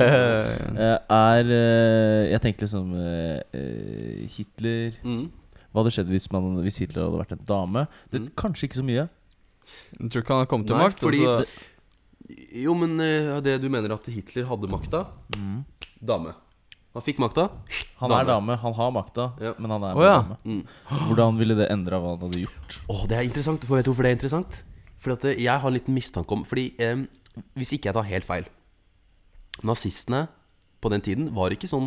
[SPEAKER 4] eh, er eh, Jeg tenkte liksom eh, eh, Hitler
[SPEAKER 1] Mm.
[SPEAKER 4] Hva hadde skjedd hvis, man, hvis Hitler hadde vært en dame? Det,
[SPEAKER 1] Mm.
[SPEAKER 4] Kanskje ikke så mye.
[SPEAKER 3] Jeg tror ikke han har kommet
[SPEAKER 1] Nei,
[SPEAKER 3] til makt.
[SPEAKER 1] fordi
[SPEAKER 3] altså.
[SPEAKER 1] Jo, men eh, det du mener at Hitler hadde makta?
[SPEAKER 4] Mm.
[SPEAKER 1] Dame. Han fikk makta.
[SPEAKER 4] Han
[SPEAKER 1] Dame.
[SPEAKER 4] er dame, han har makta,
[SPEAKER 1] Ja.
[SPEAKER 4] men han er
[SPEAKER 3] Å, ja.
[SPEAKER 4] dame.
[SPEAKER 1] Mm.
[SPEAKER 4] Hvordan ville det endra hva han hadde gjort?
[SPEAKER 1] Åh, det er interessant. For vet du hvorfor det er interessant? Fordi at eh, jeg har en liten mistanke om Fordi eh, hvis ikke jeg tar helt feil Nazistene på den tiden var ikke sånn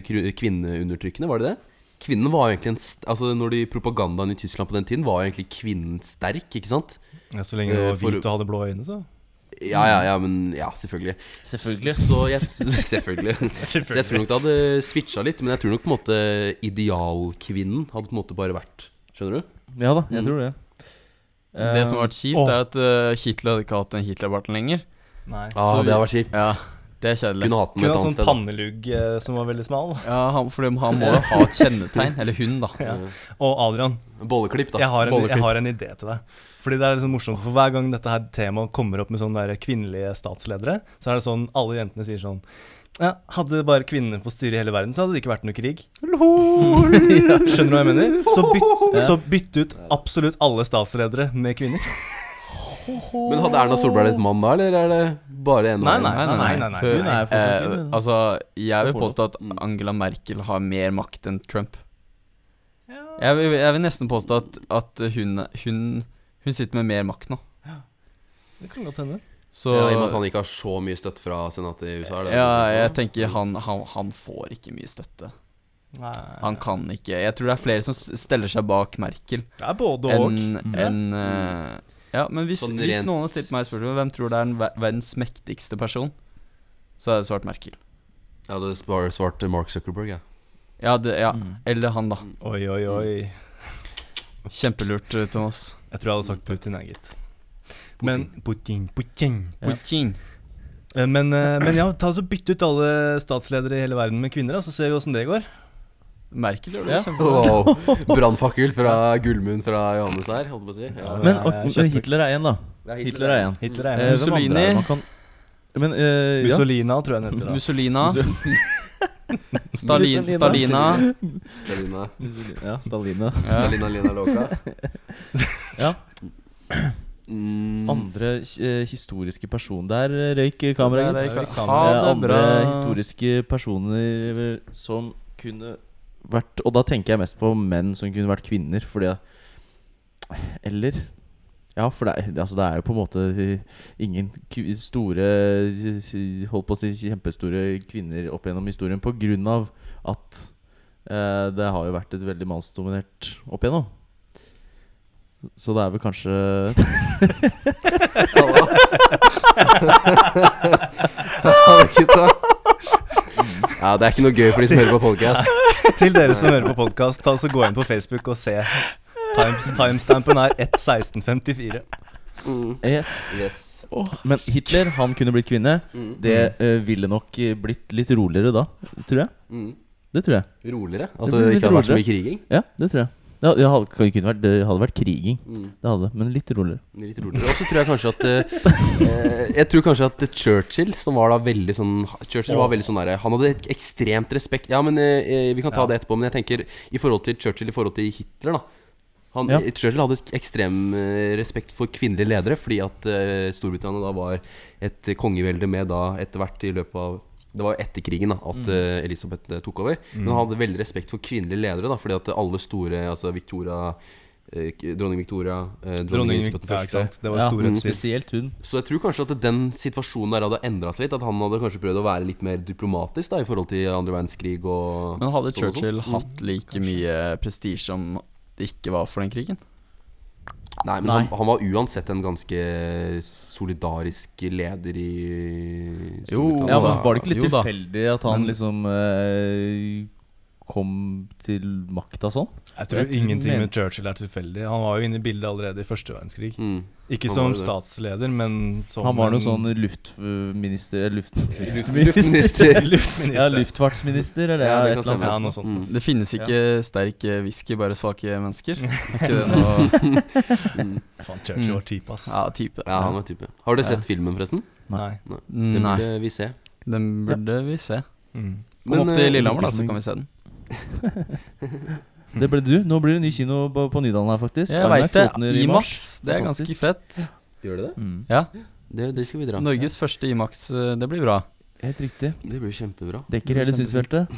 [SPEAKER 1] kjempekvinneundertrykkende, var det det? Kvinnen var jo egentlig en st Altså når de Propagandaen i Tyskland på den tiden var jo egentlig kvinnen sterk, ikke sant?
[SPEAKER 2] Ja, så lenge du
[SPEAKER 1] Eh,
[SPEAKER 2] var
[SPEAKER 1] for-
[SPEAKER 2] hvit og hadde blå øyne, så.
[SPEAKER 1] Ja, ja, ja, men Ja, selvfølgelig.
[SPEAKER 4] Selvfølgelig.
[SPEAKER 1] Så jeg, selvfølgelig. Så jeg
[SPEAKER 2] Selvfølgelig.
[SPEAKER 1] tror nok det hadde switcha litt, men jeg tror nok på en måte idealkvinnen hadde på en måte bare vært Skjønner du?
[SPEAKER 4] Ja da,
[SPEAKER 1] Mm.
[SPEAKER 4] jeg tror det.
[SPEAKER 3] Det som har vært kjipt,
[SPEAKER 2] Åh.
[SPEAKER 3] er at eh, Hitler hadde ikke hatt den Hitler-barten lenger.
[SPEAKER 2] Nei.
[SPEAKER 1] Ja,
[SPEAKER 3] Så vi-
[SPEAKER 1] Ah, det hadde vært kjipt.
[SPEAKER 3] Ja, Det er kjedelig.
[SPEAKER 1] Kunne hatt den
[SPEAKER 2] Kunne
[SPEAKER 1] et annet
[SPEAKER 2] hatt sånn
[SPEAKER 1] sted. da.
[SPEAKER 2] pannelugg eh, som var veldig smal.
[SPEAKER 3] Ja, han, fordi han må jo ha et kjennetegn. Eller hun, da.
[SPEAKER 2] Og Adrian,
[SPEAKER 1] Bolleklipp, da.
[SPEAKER 2] jeg har, en,
[SPEAKER 1] Bolleklipp.
[SPEAKER 2] jeg har en idé til deg. Fordi det er liksom morsomt, for Hver gang dette her temaet kommer opp med sånne der kvinnelige statsledere, så er det sånn alle jentene sier sånn ja, Hadde bare kvinnene fått styre hele verden, så hadde det ikke vært noe krig. Skjønner du hva jeg mener? Så bytt, så bytt ut absolutt alle statsledere med kvinner.
[SPEAKER 1] Men hadde Erna Solberg et mann da, eller er det bare en
[SPEAKER 2] Nei,
[SPEAKER 1] mann?
[SPEAKER 2] nei, nei. nei, nei, nei.
[SPEAKER 4] Hun er fortsatt
[SPEAKER 3] Eh,
[SPEAKER 4] kvinne, da.
[SPEAKER 3] altså, jeg vil
[SPEAKER 4] Det får
[SPEAKER 3] påstå at
[SPEAKER 1] Mm.
[SPEAKER 3] Angela Merkel har mer makt enn Trump. Jeg vil, jeg vil nesten påstå at, at hun, hun, hun sitter med mer makt nå.
[SPEAKER 2] Det kan godt hende.
[SPEAKER 3] Så
[SPEAKER 1] Ja, I og med at
[SPEAKER 3] ja,
[SPEAKER 1] han ikke har så mye støtte fra senatet i USA? Er det
[SPEAKER 3] jeg tenker han, han, han får ikke mye støtte.
[SPEAKER 2] Nei.
[SPEAKER 3] Han kan ikke Jeg tror det er flere som s- steller seg bak Merkel
[SPEAKER 2] Det er både og.
[SPEAKER 3] enn enn, eh, Ja, men hvis,
[SPEAKER 1] Sånn
[SPEAKER 3] hvis
[SPEAKER 1] rent-
[SPEAKER 3] noen har stilt meg spørsmål hvem tror det er den ver- verdens mektigste person, så er det svart Merkel.
[SPEAKER 1] Jeg hadde bare svart Mark Zuckerberg, jeg.
[SPEAKER 3] Ja, det, ja.
[SPEAKER 4] Mm.
[SPEAKER 3] eller han, da.
[SPEAKER 2] Oi, oi, oi.
[SPEAKER 3] Kjempelurt, eh, Thomas.
[SPEAKER 2] Jeg tror jeg hadde sagt Putin, jeg, gitt.
[SPEAKER 1] Putin.
[SPEAKER 2] Men Putin, Putin.
[SPEAKER 4] Ja.
[SPEAKER 3] Putin.
[SPEAKER 2] Eh, Men, eh, men ja, ta oss og bytte ut alle statsledere i hele verden med kvinner, da, så ser vi åssen det går.
[SPEAKER 3] Merkel gjør det
[SPEAKER 4] Ja.
[SPEAKER 3] kjempebra.
[SPEAKER 1] Wow. Brannfakkel fra Gullmunn fra Johannes her, holdt på å si. Ja,
[SPEAKER 4] Men,
[SPEAKER 2] Ja,
[SPEAKER 4] og,
[SPEAKER 2] jeg
[SPEAKER 4] men
[SPEAKER 2] kjøper.
[SPEAKER 4] Hitler er én, da.
[SPEAKER 1] det er
[SPEAKER 4] Hitler er en.
[SPEAKER 2] Hitler er
[SPEAKER 4] Eh,
[SPEAKER 2] en.
[SPEAKER 4] hvem andre er det
[SPEAKER 3] Mussolini.
[SPEAKER 4] man kan- Men eh, ja.
[SPEAKER 2] Mussolina, tror jeg han heter. da.
[SPEAKER 3] Mussolina. Stalin,
[SPEAKER 4] Mussolina.
[SPEAKER 3] Stalina.
[SPEAKER 1] Stalina.
[SPEAKER 4] Mussolini. Ja, Stalina.
[SPEAKER 3] Ja.
[SPEAKER 1] Stalina Lina Loka.
[SPEAKER 4] Ja.
[SPEAKER 1] Mm.
[SPEAKER 4] eh, historiske personen Der eh, røyk kameraet.
[SPEAKER 3] Der
[SPEAKER 4] gitt.
[SPEAKER 3] er
[SPEAKER 2] gitt.
[SPEAKER 3] kameraet.
[SPEAKER 2] Ja,
[SPEAKER 4] Eh,
[SPEAKER 3] Ha det
[SPEAKER 4] andre
[SPEAKER 3] bra.
[SPEAKER 4] historiske personer som kunne vært Og da tenker jeg mest på menn som kunne vært kvinner, fordi Eller Ja, for det, er- altså det er jo på en måte ingen ku- store eh, Holdt på å si kjempestore kvinner opp gjennom historien på grunn av at eh, det har jo vært et veldig mannsdominert opp igjennom. Så det er vel kanskje
[SPEAKER 5] Halla. Halla, gutta.
[SPEAKER 1] Ja, Det er ikke noe gøy for de som hører på podcast
[SPEAKER 2] Til dere som hører på podkast, gå inn på Facebook og se. Times, timestampen er 1.1654.
[SPEAKER 4] Yes.
[SPEAKER 1] Yes.
[SPEAKER 4] Men Hitler, han kunne blitt kvinne.
[SPEAKER 1] Mm.
[SPEAKER 4] Det eh, ville nok eh, blitt litt roligere da, tror jeg.
[SPEAKER 1] Mm.
[SPEAKER 4] Det tror jeg.
[SPEAKER 1] Roligere? At
[SPEAKER 4] Det
[SPEAKER 1] det,
[SPEAKER 4] blir litt
[SPEAKER 1] ikke har vært så
[SPEAKER 4] roligere.
[SPEAKER 1] mye kriging?
[SPEAKER 4] Ja, det tror jeg. Det hadde, det hadde, det kunne vært, det hadde vært kriging,
[SPEAKER 1] Mm.
[SPEAKER 4] det hadde, det, men litt roligere.
[SPEAKER 1] Litt roligere. Og så tror jeg kanskje at eh, eh, Jeg tror kanskje at Churchill, som var da veldig sånn Churchill var veldig sånn derre Han hadde et ekstremt respekt Ja, men eh, vi kan ta
[SPEAKER 2] Ja.
[SPEAKER 1] det etterpå, men jeg tenker i forhold til Churchill i forhold til Hitler, da. Han, eh,
[SPEAKER 4] Ja.
[SPEAKER 1] Churchill hadde et ekstrem eh, respekt for kvinnelige ledere, fordi at eh, Storbritannia da var et kongevelde med da etter hvert i løpet av det var jo etter krigen da, at eh, Elisabeth eh, tok over. Men han hadde veldig respekt for kvinnelige ledere. da, Fordi at alle store Altså Victoria, eh, k- dronning Victoria, eh, dronning
[SPEAKER 2] Dronning
[SPEAKER 1] Elisabeth
[SPEAKER 2] Victoria,
[SPEAKER 1] den
[SPEAKER 2] ikke sant. Det var
[SPEAKER 4] Ja,
[SPEAKER 2] store
[SPEAKER 4] mm,
[SPEAKER 2] svir.
[SPEAKER 4] spesielt hun.
[SPEAKER 1] så jeg tror kanskje at den situasjonen der hadde endra seg litt. At han hadde kanskje prøvd å være litt mer diplomatisk da i forhold til andre verdenskrig og
[SPEAKER 3] Men
[SPEAKER 1] sånn og
[SPEAKER 3] hadde
[SPEAKER 1] sånn.
[SPEAKER 3] Churchill hatt like mye prestisje om det ikke var for den krigen?
[SPEAKER 1] Nei, men
[SPEAKER 4] Nei.
[SPEAKER 1] Han, han var uansett en ganske solidarisk leder i
[SPEAKER 3] Jo,
[SPEAKER 1] Storbritannia.
[SPEAKER 4] Ja, men Var det ikke litt
[SPEAKER 3] jo da.
[SPEAKER 4] tilfeldig at han
[SPEAKER 3] Men-
[SPEAKER 4] liksom eh, kom til makta sånn?
[SPEAKER 2] Jeg
[SPEAKER 4] Jeg
[SPEAKER 2] tror
[SPEAKER 4] tror
[SPEAKER 2] ingenting
[SPEAKER 4] men-
[SPEAKER 2] med Churchill er tilfeldig. Han var jo inne i bildet allerede i første verdenskrig.
[SPEAKER 1] Mm.
[SPEAKER 2] Ikke
[SPEAKER 1] Han
[SPEAKER 2] som
[SPEAKER 1] var jo det.
[SPEAKER 2] statsleder, men som
[SPEAKER 4] Han var
[SPEAKER 2] en
[SPEAKER 4] noe sånn luftminister eller eh, luft,
[SPEAKER 1] Luftminister.
[SPEAKER 2] luftminister. sånn.
[SPEAKER 4] Ja, luftfartsminister eller ja,
[SPEAKER 1] Ja, det
[SPEAKER 4] et
[SPEAKER 1] kan stemme.
[SPEAKER 4] eller annet
[SPEAKER 2] Ja,
[SPEAKER 4] sånt.
[SPEAKER 2] noe sånt.
[SPEAKER 1] Mm.
[SPEAKER 3] Det finnes ikke sterk eh, whisky, bare svake mennesker. Er ikke det noe
[SPEAKER 1] Mm.
[SPEAKER 2] Faen, Churchill var type, ass.
[SPEAKER 3] Ja, type.
[SPEAKER 1] Ja, han var type. Har dere sett filmen, forresten?
[SPEAKER 2] Nei.
[SPEAKER 1] Det
[SPEAKER 3] Nei,
[SPEAKER 1] burde vi se.
[SPEAKER 3] den burde vi se.
[SPEAKER 2] Mm.
[SPEAKER 3] Kom
[SPEAKER 1] Men,
[SPEAKER 3] opp til
[SPEAKER 1] eh,
[SPEAKER 3] Lillehammer, da, så kan vi se den.
[SPEAKER 4] Det ble du. Nå blir det ny kino på på Nydalen her, faktisk.
[SPEAKER 3] Jeg
[SPEAKER 4] IMAX
[SPEAKER 3] veit det.
[SPEAKER 4] åpner i mars.
[SPEAKER 3] Imax, det er ganske
[SPEAKER 4] Fantastisk.
[SPEAKER 3] fett.
[SPEAKER 1] Gjør det det?
[SPEAKER 4] Mm.
[SPEAKER 3] Ja,
[SPEAKER 1] Det, det skal vi dra.
[SPEAKER 3] Norges første Imax, eh, det blir bra.
[SPEAKER 4] Helt riktig.
[SPEAKER 1] Det blir kjempebra.
[SPEAKER 4] Dekker hele synsfeltet.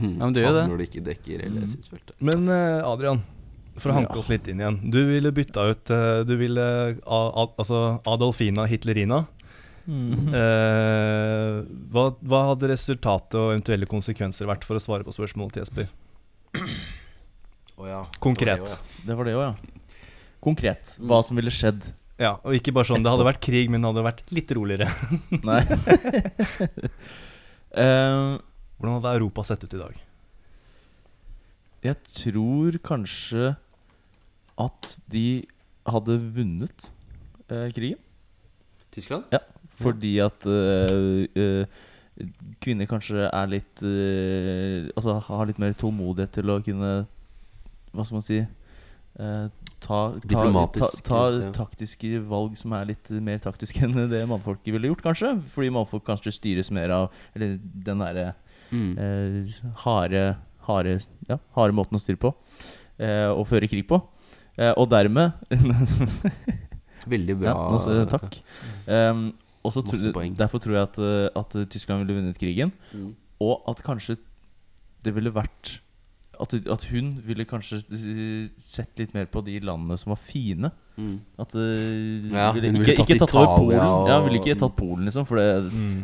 [SPEAKER 1] Ja,
[SPEAKER 3] men det gjør det.
[SPEAKER 1] Når det ikke dekker hele synsfeltet.
[SPEAKER 2] Men eh, Adrian, for å hanke oss litt inn igjen. Du ville bytta ut eh, Du ville a, a, Altså Adolfina Hitlerina.
[SPEAKER 4] Mm. Mhm.
[SPEAKER 2] Mm. Eh, hva, hva hadde resultatet og eventuelle konsekvenser vært for å svare på spørsmålet til Jesper?
[SPEAKER 1] Å ja.
[SPEAKER 2] Konkret.
[SPEAKER 1] Det var det,
[SPEAKER 4] Det var det òg, ja. Konkret. Hva som ville skjedd.
[SPEAKER 2] Ja, og ikke bare sånn Det hadde vært krig, men det hadde vært litt roligere.
[SPEAKER 4] Nei. Eh,
[SPEAKER 2] Hvordan hadde Europa sett ut i dag?
[SPEAKER 4] jeg tror kanskje at de hadde vunnet eh, krigen.
[SPEAKER 1] ja. Tyskland?
[SPEAKER 4] Fordi at eh, eh, kvinner kanskje er litt eh, Altså har litt mer tålmodighet til å kunne Hva skal man si? eh, ta, ta, ta,
[SPEAKER 1] Diplomatisk,
[SPEAKER 4] ta
[SPEAKER 1] ja.
[SPEAKER 4] taktiske valg som er litt mer taktiske enn det mannfolket ville gjort, kanskje. Fordi mannfolk kanskje styres mer av Eller den derre
[SPEAKER 1] Mm.
[SPEAKER 4] eh, harde, harde, ja, harde måten å styre på eh, og føre krig på. Eh, og dermed
[SPEAKER 1] Veldig bra.
[SPEAKER 4] ja, altså, Takk. Um, og så
[SPEAKER 1] Masse
[SPEAKER 4] tro-
[SPEAKER 1] poeng.
[SPEAKER 4] derfor tror jeg at, eh, at Tyskland ville vunnet krigen,
[SPEAKER 1] Mm.
[SPEAKER 4] og at kanskje det ville vært at, at hun ville kanskje eh, sett litt mer på de landene som var fine.
[SPEAKER 1] Mm.
[SPEAKER 4] At eh,
[SPEAKER 1] Ja,
[SPEAKER 4] ville,
[SPEAKER 1] hun ville
[SPEAKER 4] Ikke,
[SPEAKER 1] tatt
[SPEAKER 4] ikke tatt over Polen.
[SPEAKER 1] Italia og-
[SPEAKER 4] Ja, ville ikke tatt Polen, liksom, for det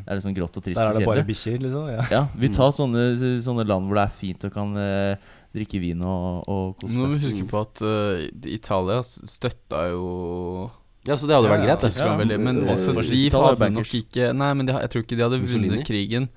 [SPEAKER 4] er liksom grått og
[SPEAKER 2] Mm.
[SPEAKER 4] trist.
[SPEAKER 2] Der
[SPEAKER 4] og
[SPEAKER 2] er det
[SPEAKER 4] kjedelig.
[SPEAKER 2] bare bikkjer, liksom. Ja.
[SPEAKER 4] Ja,
[SPEAKER 1] Mm.
[SPEAKER 4] vi tar sånne, sånne land hvor det er fint og kan eh, drikke vin og, og kose
[SPEAKER 3] Nå må
[SPEAKER 4] seg.
[SPEAKER 3] vi huske på at eh, Italia s- støtta jo
[SPEAKER 1] Ja, så det hadde
[SPEAKER 2] Ja,
[SPEAKER 1] vært
[SPEAKER 2] ja.
[SPEAKER 1] greit. det.
[SPEAKER 3] Tyskland
[SPEAKER 2] Ja,
[SPEAKER 3] veldig. Men
[SPEAKER 1] eh,
[SPEAKER 3] altså, de
[SPEAKER 4] fascist- Italia
[SPEAKER 3] hadde
[SPEAKER 4] bankers.
[SPEAKER 3] nok ikke Nei, men de, jeg tror ikke de hadde
[SPEAKER 1] Mussolini?
[SPEAKER 3] vunnet krigen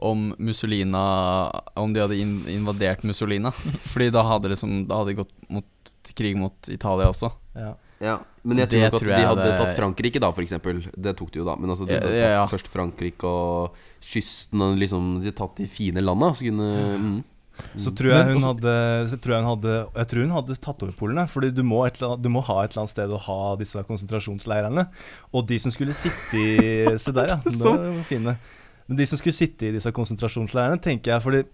[SPEAKER 3] om Mussolina Om de hadde in, invadert Mussolina. Fordi da hadde, det som, da hadde de gått mot, til krig mot Italia også.
[SPEAKER 2] Ja.
[SPEAKER 1] Ja, men jeg
[SPEAKER 3] Det
[SPEAKER 1] tror nok at
[SPEAKER 3] tror
[SPEAKER 1] de
[SPEAKER 3] jeg
[SPEAKER 1] hadde
[SPEAKER 3] det-
[SPEAKER 1] tatt Frankrike da, for eksempel Det tok de jo da, men altså de
[SPEAKER 3] Ja,
[SPEAKER 1] hadde
[SPEAKER 3] ja, ja.
[SPEAKER 1] tatt først Frankrike og kysten og liksom De hadde tatt de fine landa, så kunne mm.
[SPEAKER 2] Så tror jeg hun hadde så tror jeg, hun hadde jeg tror hun hadde tatt over Polen. ja, Fordi du må, et eller annet, du må ha et eller annet sted å ha disse konsentrasjonsleirene. Og de som skulle sitte i Se der, ja. Det var fine. Men de som skulle sitte i disse konsentrasjonsleirene, tenker jeg fordi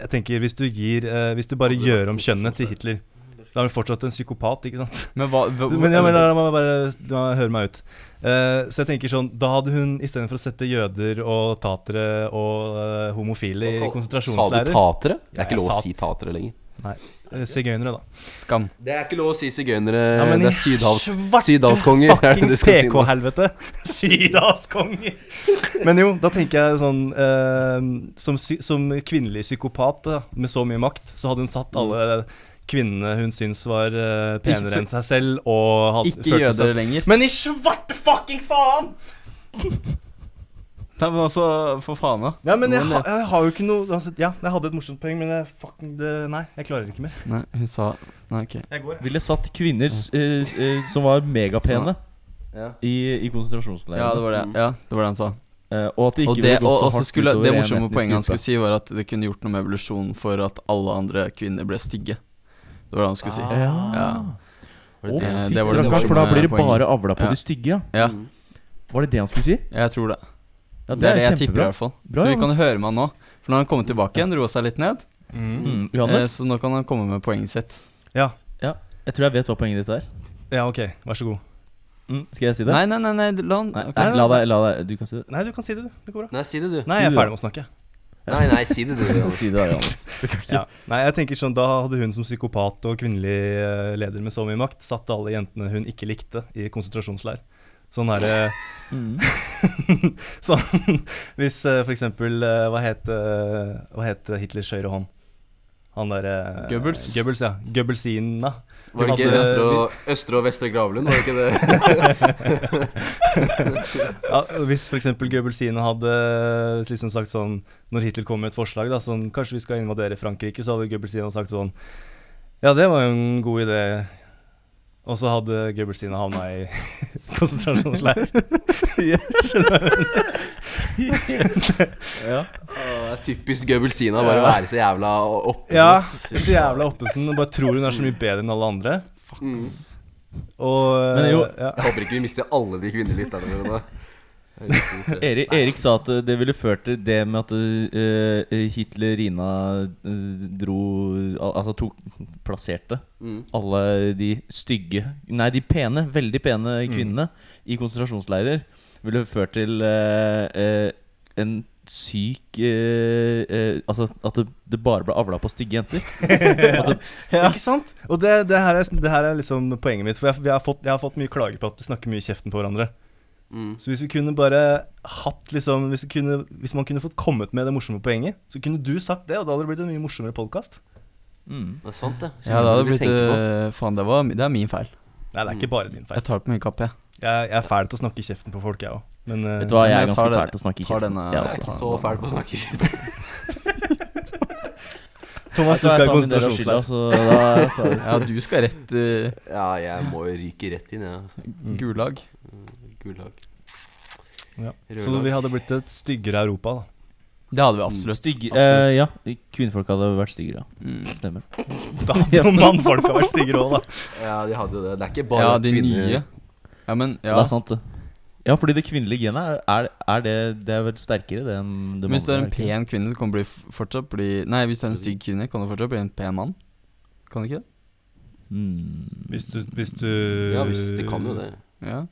[SPEAKER 2] jeg tenker Hvis du, gir, eh, hvis du bare gjør om kjønnet til Hitler, Da er du fortsatt en psykopat, ikke sant?
[SPEAKER 3] Men hva, hva
[SPEAKER 2] Men ja, men la meg bare la meg høre meg ut. Eh, så jeg tenker sånn, Da hadde hun istedenfor å sette jøder og tatere og eh, homofile i
[SPEAKER 1] Sa du
[SPEAKER 2] konsentrasjonsleirer
[SPEAKER 1] tatere? Det
[SPEAKER 2] Ja,
[SPEAKER 1] er ikke
[SPEAKER 2] jeg
[SPEAKER 1] lov å
[SPEAKER 2] sa-
[SPEAKER 1] si tatere lenger.
[SPEAKER 2] eh, Sigøynere, da.
[SPEAKER 3] Skam.
[SPEAKER 1] Det er ikke lov å si sigøynere.
[SPEAKER 2] Ja, men
[SPEAKER 1] det
[SPEAKER 2] i
[SPEAKER 1] er sydhavs,
[SPEAKER 2] svarte
[SPEAKER 1] sydhavskonger. er det du
[SPEAKER 2] Fuckings
[SPEAKER 1] skal si nå.
[SPEAKER 2] PK-helvete! Sydhavskonger! Men jo, da tenker jeg sånn eh, som, sy som kvinnelig psykopat da, med så mye makt, så hadde hun satt alle kvinnene hun syns var eh,
[SPEAKER 3] Ikke
[SPEAKER 2] penere
[SPEAKER 3] så-
[SPEAKER 2] enn seg selv, og hadde,
[SPEAKER 3] Ikke jøder lenger.
[SPEAKER 2] Men i svarte fuckings faen!
[SPEAKER 3] Nei, men altså, for faen, da.
[SPEAKER 2] Ja, men jeg,
[SPEAKER 3] Noen
[SPEAKER 2] ha, jeg har jo ikke noe altså, Ja, jeg hadde et morsomt poeng, men jeg fucking det, Nei, jeg klarer ikke mer.
[SPEAKER 3] Nei, hun sa Nei, ok.
[SPEAKER 2] Jeg går,
[SPEAKER 4] Ville satt kvinner s- eh, s- eh, som var megapene,
[SPEAKER 1] Sånn, Ja.
[SPEAKER 4] i, i konsentrasjonsleirene.
[SPEAKER 3] Ja, det var det. Mm. Ja, det var det han sa.
[SPEAKER 4] Eh, og at det ikke
[SPEAKER 3] Og det,
[SPEAKER 4] ville gått
[SPEAKER 3] og,
[SPEAKER 4] så
[SPEAKER 3] og så
[SPEAKER 4] hardt
[SPEAKER 3] skulle,
[SPEAKER 4] utover
[SPEAKER 3] det
[SPEAKER 4] en
[SPEAKER 3] morsomme
[SPEAKER 4] etnisk
[SPEAKER 3] poenget han
[SPEAKER 4] gruppe.
[SPEAKER 3] skulle si, var at det kunne gjort noe med evolusjonen for at alle andre kvinner ble stygge. Det var det han skulle si. Ja.
[SPEAKER 1] Var det
[SPEAKER 4] Å,
[SPEAKER 1] det?
[SPEAKER 4] Ah. fy
[SPEAKER 3] det var det
[SPEAKER 4] rakkeren, for da
[SPEAKER 3] morsomme
[SPEAKER 4] blir det
[SPEAKER 3] poenget.
[SPEAKER 4] bare avla på
[SPEAKER 3] Ja.
[SPEAKER 4] de stygge, ja.
[SPEAKER 3] Ja,
[SPEAKER 1] Mm.
[SPEAKER 4] Var det det han skulle si?
[SPEAKER 3] jeg tror det.
[SPEAKER 4] Ja,
[SPEAKER 3] det, er det jeg tipper, i hvert fall.
[SPEAKER 4] Bra,
[SPEAKER 3] så vi kan
[SPEAKER 4] Johannes.
[SPEAKER 3] høre med han nå. For nå har han kommet tilbake igjen, roa seg litt ned.
[SPEAKER 4] Mm,
[SPEAKER 3] Eh,
[SPEAKER 4] Johannes,
[SPEAKER 3] så nå kan han komme med poenget sitt.
[SPEAKER 4] jeg tror jeg vet hva poenget ditt er.
[SPEAKER 2] Ja, OK. Vær så god.
[SPEAKER 4] Skal jeg si det?
[SPEAKER 3] Nei, nei, nei, nei la han
[SPEAKER 4] Nei,
[SPEAKER 3] ok.
[SPEAKER 4] nei, la deg, la deg Du kan si det.
[SPEAKER 2] Nei, du kan si det, du. Det går bra.
[SPEAKER 1] Nei, si det, du.
[SPEAKER 2] Nei, jeg er ferdig med å snakke.
[SPEAKER 1] Nei, nei, si det, du. Jonas.
[SPEAKER 4] Si det, da, Johannes.
[SPEAKER 2] Ja. Nei, jeg tenker sånn, Da hadde hun som psykopat og kvinnelig eh, leder med så mye makt satt alle jentene hun ikke likte, i konsentrasjonsleir. Sånn er det
[SPEAKER 3] Mm.
[SPEAKER 2] sånn, Hvis eh, for eksempel eh, Hva het, eh, hva het Hitlers høyre hånd? Han derre
[SPEAKER 3] Goebbels.
[SPEAKER 2] Goebbels, ja. Goebbelsina.
[SPEAKER 1] Var det ikke
[SPEAKER 2] Altså,
[SPEAKER 1] Østre og, Østre og Vestre Gravlund? Var det ikke det?
[SPEAKER 2] Ja, hvis f.eks. Goebbelsine hadde liksom sagt sånn Når Hitler kom med et forslag da, sånn Kanskje vi skal invadere Frankrike, så hadde Goebbelsine sagt sånn Ja, det var jo en god idé. Og så hadde Goebbelsine havna i konsentrasjonsleir.
[SPEAKER 1] Åh, det er typisk Goebbelsina bare å være så jævla oppe.
[SPEAKER 2] Ja, så jævla Oppesen. og Bare tror hun er så mye bedre enn alle andre.
[SPEAKER 1] Mm.
[SPEAKER 2] Og eh,
[SPEAKER 4] Men jo-
[SPEAKER 2] ja.
[SPEAKER 1] Jeg håper ikke vi mister alle de kvinnelige lytterne våre nå. En, to, tre.
[SPEAKER 4] Erik, Erik sa at eh, det ville ført til det med at eh, eh, Hitlerina eh, dro al- Altså tok plasserte
[SPEAKER 1] Mm.
[SPEAKER 4] alle de stygge Nei, de pene, veldig pene kvinnene i konsentrasjonsleirer. Ville ført til eh, eh, en syk eh, eh, Altså at det, det bare ble avla på stygge jenter.
[SPEAKER 2] Ikke sant? Og det, det, her er, det her er liksom poenget mitt. For jeg, jeg, har fått, jeg har fått mye klager på at vi snakker mye i kjeften på hverandre.
[SPEAKER 1] Mm.
[SPEAKER 2] Så hvis vi kunne bare hatt liksom hvis, vi kunne, hvis man kunne fått kommet med det morsomme poenget, så kunne du sagt det, og da hadde det blitt en mye morsommere podkast.
[SPEAKER 4] Mm.
[SPEAKER 1] Det er sant, det.
[SPEAKER 3] Ja, det hadde
[SPEAKER 1] Skjønner
[SPEAKER 3] blitt
[SPEAKER 1] du hva du tenker på.
[SPEAKER 3] eh, Faen, det, var, det er min feil.
[SPEAKER 2] Nei, det er ikke bare din feil.
[SPEAKER 3] Jeg tar det på min kappe, jeg.
[SPEAKER 2] Jeg, jeg er fæl til å snakke i kjeften på folk, jeg òg. Men eh,
[SPEAKER 4] Vet du hva, jeg er
[SPEAKER 3] jeg
[SPEAKER 4] ganske
[SPEAKER 3] tar
[SPEAKER 4] fæl til å snakke
[SPEAKER 3] tar
[SPEAKER 4] i kjeften. altså.
[SPEAKER 3] denne-
[SPEAKER 4] Jeg
[SPEAKER 3] jeg
[SPEAKER 4] også.
[SPEAKER 3] tar-
[SPEAKER 1] Så fæl på å snakke skitt.
[SPEAKER 2] Thomas, du
[SPEAKER 4] Da
[SPEAKER 2] skal i
[SPEAKER 4] tar min del av skylda,
[SPEAKER 2] konsentrasjonsleir.
[SPEAKER 4] så da tar jeg-
[SPEAKER 3] Ja, du skal rett eh,
[SPEAKER 1] Ja, jeg må jo ryke rett inn, jeg. Altså.
[SPEAKER 3] gulag.
[SPEAKER 1] Gulag.
[SPEAKER 2] Ja. Så
[SPEAKER 1] Rødlag.
[SPEAKER 2] vi hadde blitt et styggere Europa, da.
[SPEAKER 3] Det hadde vi absolutt.
[SPEAKER 4] Stygge,
[SPEAKER 3] Absolutt.
[SPEAKER 4] eh, ja, kvinnfolk hadde vært styggere. ja.
[SPEAKER 3] Mm.
[SPEAKER 4] Stemmer.
[SPEAKER 2] Da hadde jo mannfolka vært styggere òg, da.
[SPEAKER 1] Ja, de hadde jo det. Det er ikke bare
[SPEAKER 3] Ja, de
[SPEAKER 1] kvinner-
[SPEAKER 3] nye. Ja, men
[SPEAKER 4] Det
[SPEAKER 3] ja.
[SPEAKER 4] er sant, det. Ja, fordi det kvinnelige genet, er, er det Det er vel sterkere det enn det
[SPEAKER 3] Men hvis du er en
[SPEAKER 4] mannlige,
[SPEAKER 3] pen kvinne, så kan du bli f- fortsatt bli Nei, hvis du er en stygg kvinne, kan du fortsatt bli en pen mann. Kan du ikke det?
[SPEAKER 4] Mm.
[SPEAKER 2] Hvis du, hvis du
[SPEAKER 1] Ja, hvis de kan jo det.
[SPEAKER 3] Ja.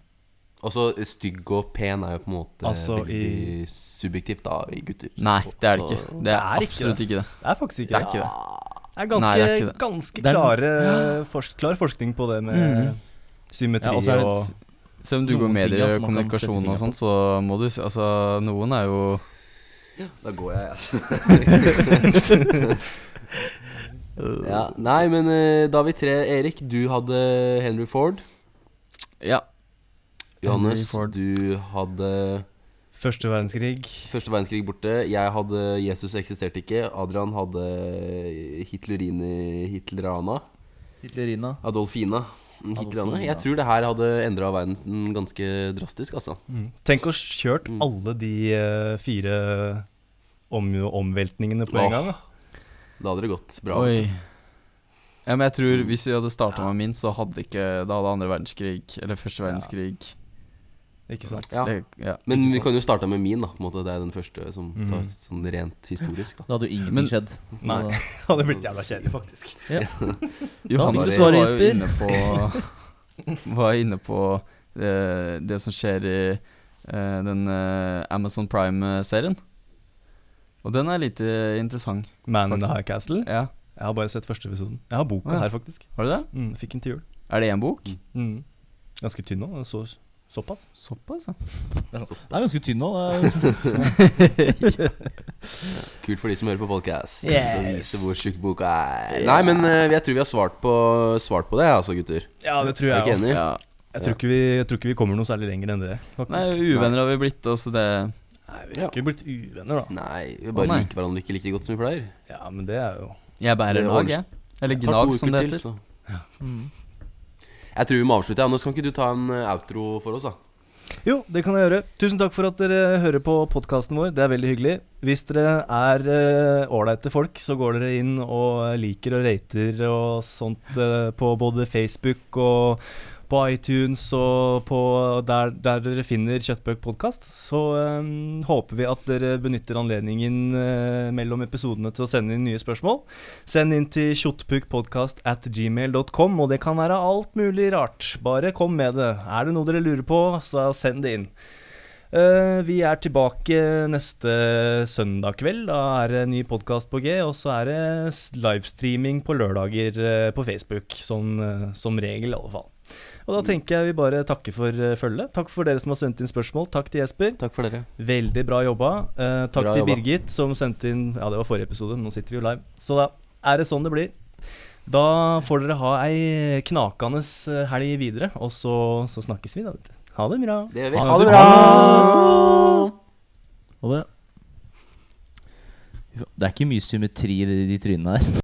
[SPEAKER 1] Altså, stygg og pen er jo på en måte
[SPEAKER 2] Altså, i-
[SPEAKER 1] veldig subjektivt, da, i gutter.
[SPEAKER 3] Nei, det er det
[SPEAKER 1] Så-
[SPEAKER 3] ikke. Det er
[SPEAKER 2] Det er ikke
[SPEAKER 3] absolutt ikke det.
[SPEAKER 2] Det er faktisk ikke
[SPEAKER 3] Det er ikke det.
[SPEAKER 2] Det er ganske,
[SPEAKER 3] Nei, det er ikke det.
[SPEAKER 2] ganske
[SPEAKER 4] Det er-
[SPEAKER 2] klare, forsk, klar forskning på det med
[SPEAKER 3] Mm.
[SPEAKER 2] symmetri
[SPEAKER 4] Ja, og så er det
[SPEAKER 2] og
[SPEAKER 3] Selv om du går
[SPEAKER 4] Noen ting,
[SPEAKER 3] medier
[SPEAKER 4] altså,
[SPEAKER 3] og
[SPEAKER 4] man kan sette
[SPEAKER 3] kommunikasjon og
[SPEAKER 4] fingeren
[SPEAKER 3] sånt, så må du si Altså, noen er jo
[SPEAKER 1] Da går jeg, altså. ja, nei, men eh, da er vi tre. Erik, du hadde Henry Ford.
[SPEAKER 3] Ja.
[SPEAKER 1] Johannes,
[SPEAKER 3] Ford.
[SPEAKER 1] du hadde
[SPEAKER 2] Første verdenskrig.
[SPEAKER 1] første verdenskrig borte. Jeg hadde Jesus eksisterte ikke. Adrian hadde Hitlerini Hitlerana.
[SPEAKER 4] Hitlerina.
[SPEAKER 1] Adolfina. Hitlerana.
[SPEAKER 4] Adolfina.
[SPEAKER 1] Jeg tror det her hadde endra verden ganske drastisk, altså.
[SPEAKER 2] Tenk å kjørt
[SPEAKER 1] Mm.
[SPEAKER 2] alle de eh, fire om, omveltningene på
[SPEAKER 1] Åh.
[SPEAKER 2] en gang. Da.
[SPEAKER 1] Da hadde det gått bra.
[SPEAKER 3] Oi. Ja, men jeg tror
[SPEAKER 4] Mm.
[SPEAKER 3] hvis vi hadde starta med min, så hadde ikke Da hadde andre verdenskrig, eller første verdenskrig
[SPEAKER 2] Ikke sant?
[SPEAKER 5] Ja.
[SPEAKER 3] Det, ja.
[SPEAKER 1] Men
[SPEAKER 2] Ikke
[SPEAKER 1] vi
[SPEAKER 2] sant.
[SPEAKER 1] kan jo starte med min, da. På en måte. Det er den første som
[SPEAKER 2] Mhm.
[SPEAKER 1] tar sånn rent historisk. Da.
[SPEAKER 4] Da hadde jo ingenting
[SPEAKER 3] Men-
[SPEAKER 4] skjedd.
[SPEAKER 2] Nei.
[SPEAKER 4] Så-
[SPEAKER 2] Det hadde blitt jævla kjedelig, faktisk.
[SPEAKER 3] Johanne
[SPEAKER 4] fikk du svaret,
[SPEAKER 3] var jo
[SPEAKER 4] Jesper.
[SPEAKER 3] inne på Var inne på eh, det som skjer i eh, den eh, Amazon Prime-serien. Og den er litt eh, interessant.
[SPEAKER 2] Man in the High Castle.
[SPEAKER 3] Ja,
[SPEAKER 2] Jeg har bare sett første episoden. Jeg har boka
[SPEAKER 3] Å, ja.
[SPEAKER 2] her, faktisk.
[SPEAKER 3] Har du det?
[SPEAKER 2] Mm, fikk den til jul.
[SPEAKER 3] Er det én bok?
[SPEAKER 2] Mm. Ganske tynn nå. den Så, såpass.
[SPEAKER 3] Såpass, ja.
[SPEAKER 4] Den er ganske tynn nå. det er-
[SPEAKER 1] Kult for de som hører på podcast Som
[SPEAKER 2] Yes.
[SPEAKER 1] viser hvor tjukk boka er. Nei, men eh, jeg tror vi har svart på, svart på det, altså, gutter.
[SPEAKER 2] Ja, det tror
[SPEAKER 1] Er
[SPEAKER 2] jeg
[SPEAKER 1] du ikke
[SPEAKER 2] òg.
[SPEAKER 1] enig?
[SPEAKER 3] ja.
[SPEAKER 2] Jeg, tror ikke vi- jeg tror ikke vi kommer noe særlig lenger enn det, faktisk.
[SPEAKER 3] Nei,
[SPEAKER 2] Nei,
[SPEAKER 3] uvenner har vi blitt, og så det
[SPEAKER 2] vi har ikke blitt uvenner, da.
[SPEAKER 1] Nei, vi
[SPEAKER 3] Å,
[SPEAKER 1] bare
[SPEAKER 3] nei.
[SPEAKER 1] liker hverandre ikke like godt som vi pleier.
[SPEAKER 2] Ja, men det er jo
[SPEAKER 3] Jeg bærer
[SPEAKER 1] Det var
[SPEAKER 3] lag, jeg. Eller
[SPEAKER 1] Jeg tar to
[SPEAKER 3] gnag, som
[SPEAKER 1] uker
[SPEAKER 3] det
[SPEAKER 1] til,
[SPEAKER 3] heter.
[SPEAKER 1] så. Jeg tror vi må avslutte. Ja. Nå skal ikke du ta en eh, outro for oss, da?
[SPEAKER 2] Jo, det kan jeg gjøre. Tusen takk for at dere hører på podkasten vår. Det er veldig hyggelig. Hvis dere er eh, ålreite folk, så går dere inn og liker og rater og sånt eh, på både Facebook og på iTunes og på der, der dere finner Kjøttbøk-podkast. Så eh, håper vi at dere benytter anledningen eh, mellom episodene til å sende inn nye spørsmål. Send inn til kjottpukkpodkast at gmail.com, og det kan være alt mulig rart. Bare kom med det. Er det noe dere lurer på, så send det inn. Eh, vi er tilbake neste søndag kveld. Da er det en ny podkast på G, og så er det s- livestreaming på lørdager eh, på Facebook. Sånn eh, som regel, i alle fall. Og da tenker jeg vi bare takker for eh, følget. Takk for dere som har sendt inn spørsmål. Takk til Jesper.
[SPEAKER 1] Takk for dere.
[SPEAKER 2] Veldig bra jobba. Eh, takk
[SPEAKER 1] Bra
[SPEAKER 2] til
[SPEAKER 1] jobba.
[SPEAKER 2] Birgit, som sendte inn Ja, det var forrige episode, nå sitter vi jo live. Så da er det sånn det blir. Da får dere ha ei knakende eh, helg videre, og så, så snakkes vi, da, vet du. Ha det bra.
[SPEAKER 1] Det gjør vi.
[SPEAKER 4] det
[SPEAKER 1] bra!
[SPEAKER 4] Og det Det er ikke mye symmetri i de, de trynene her.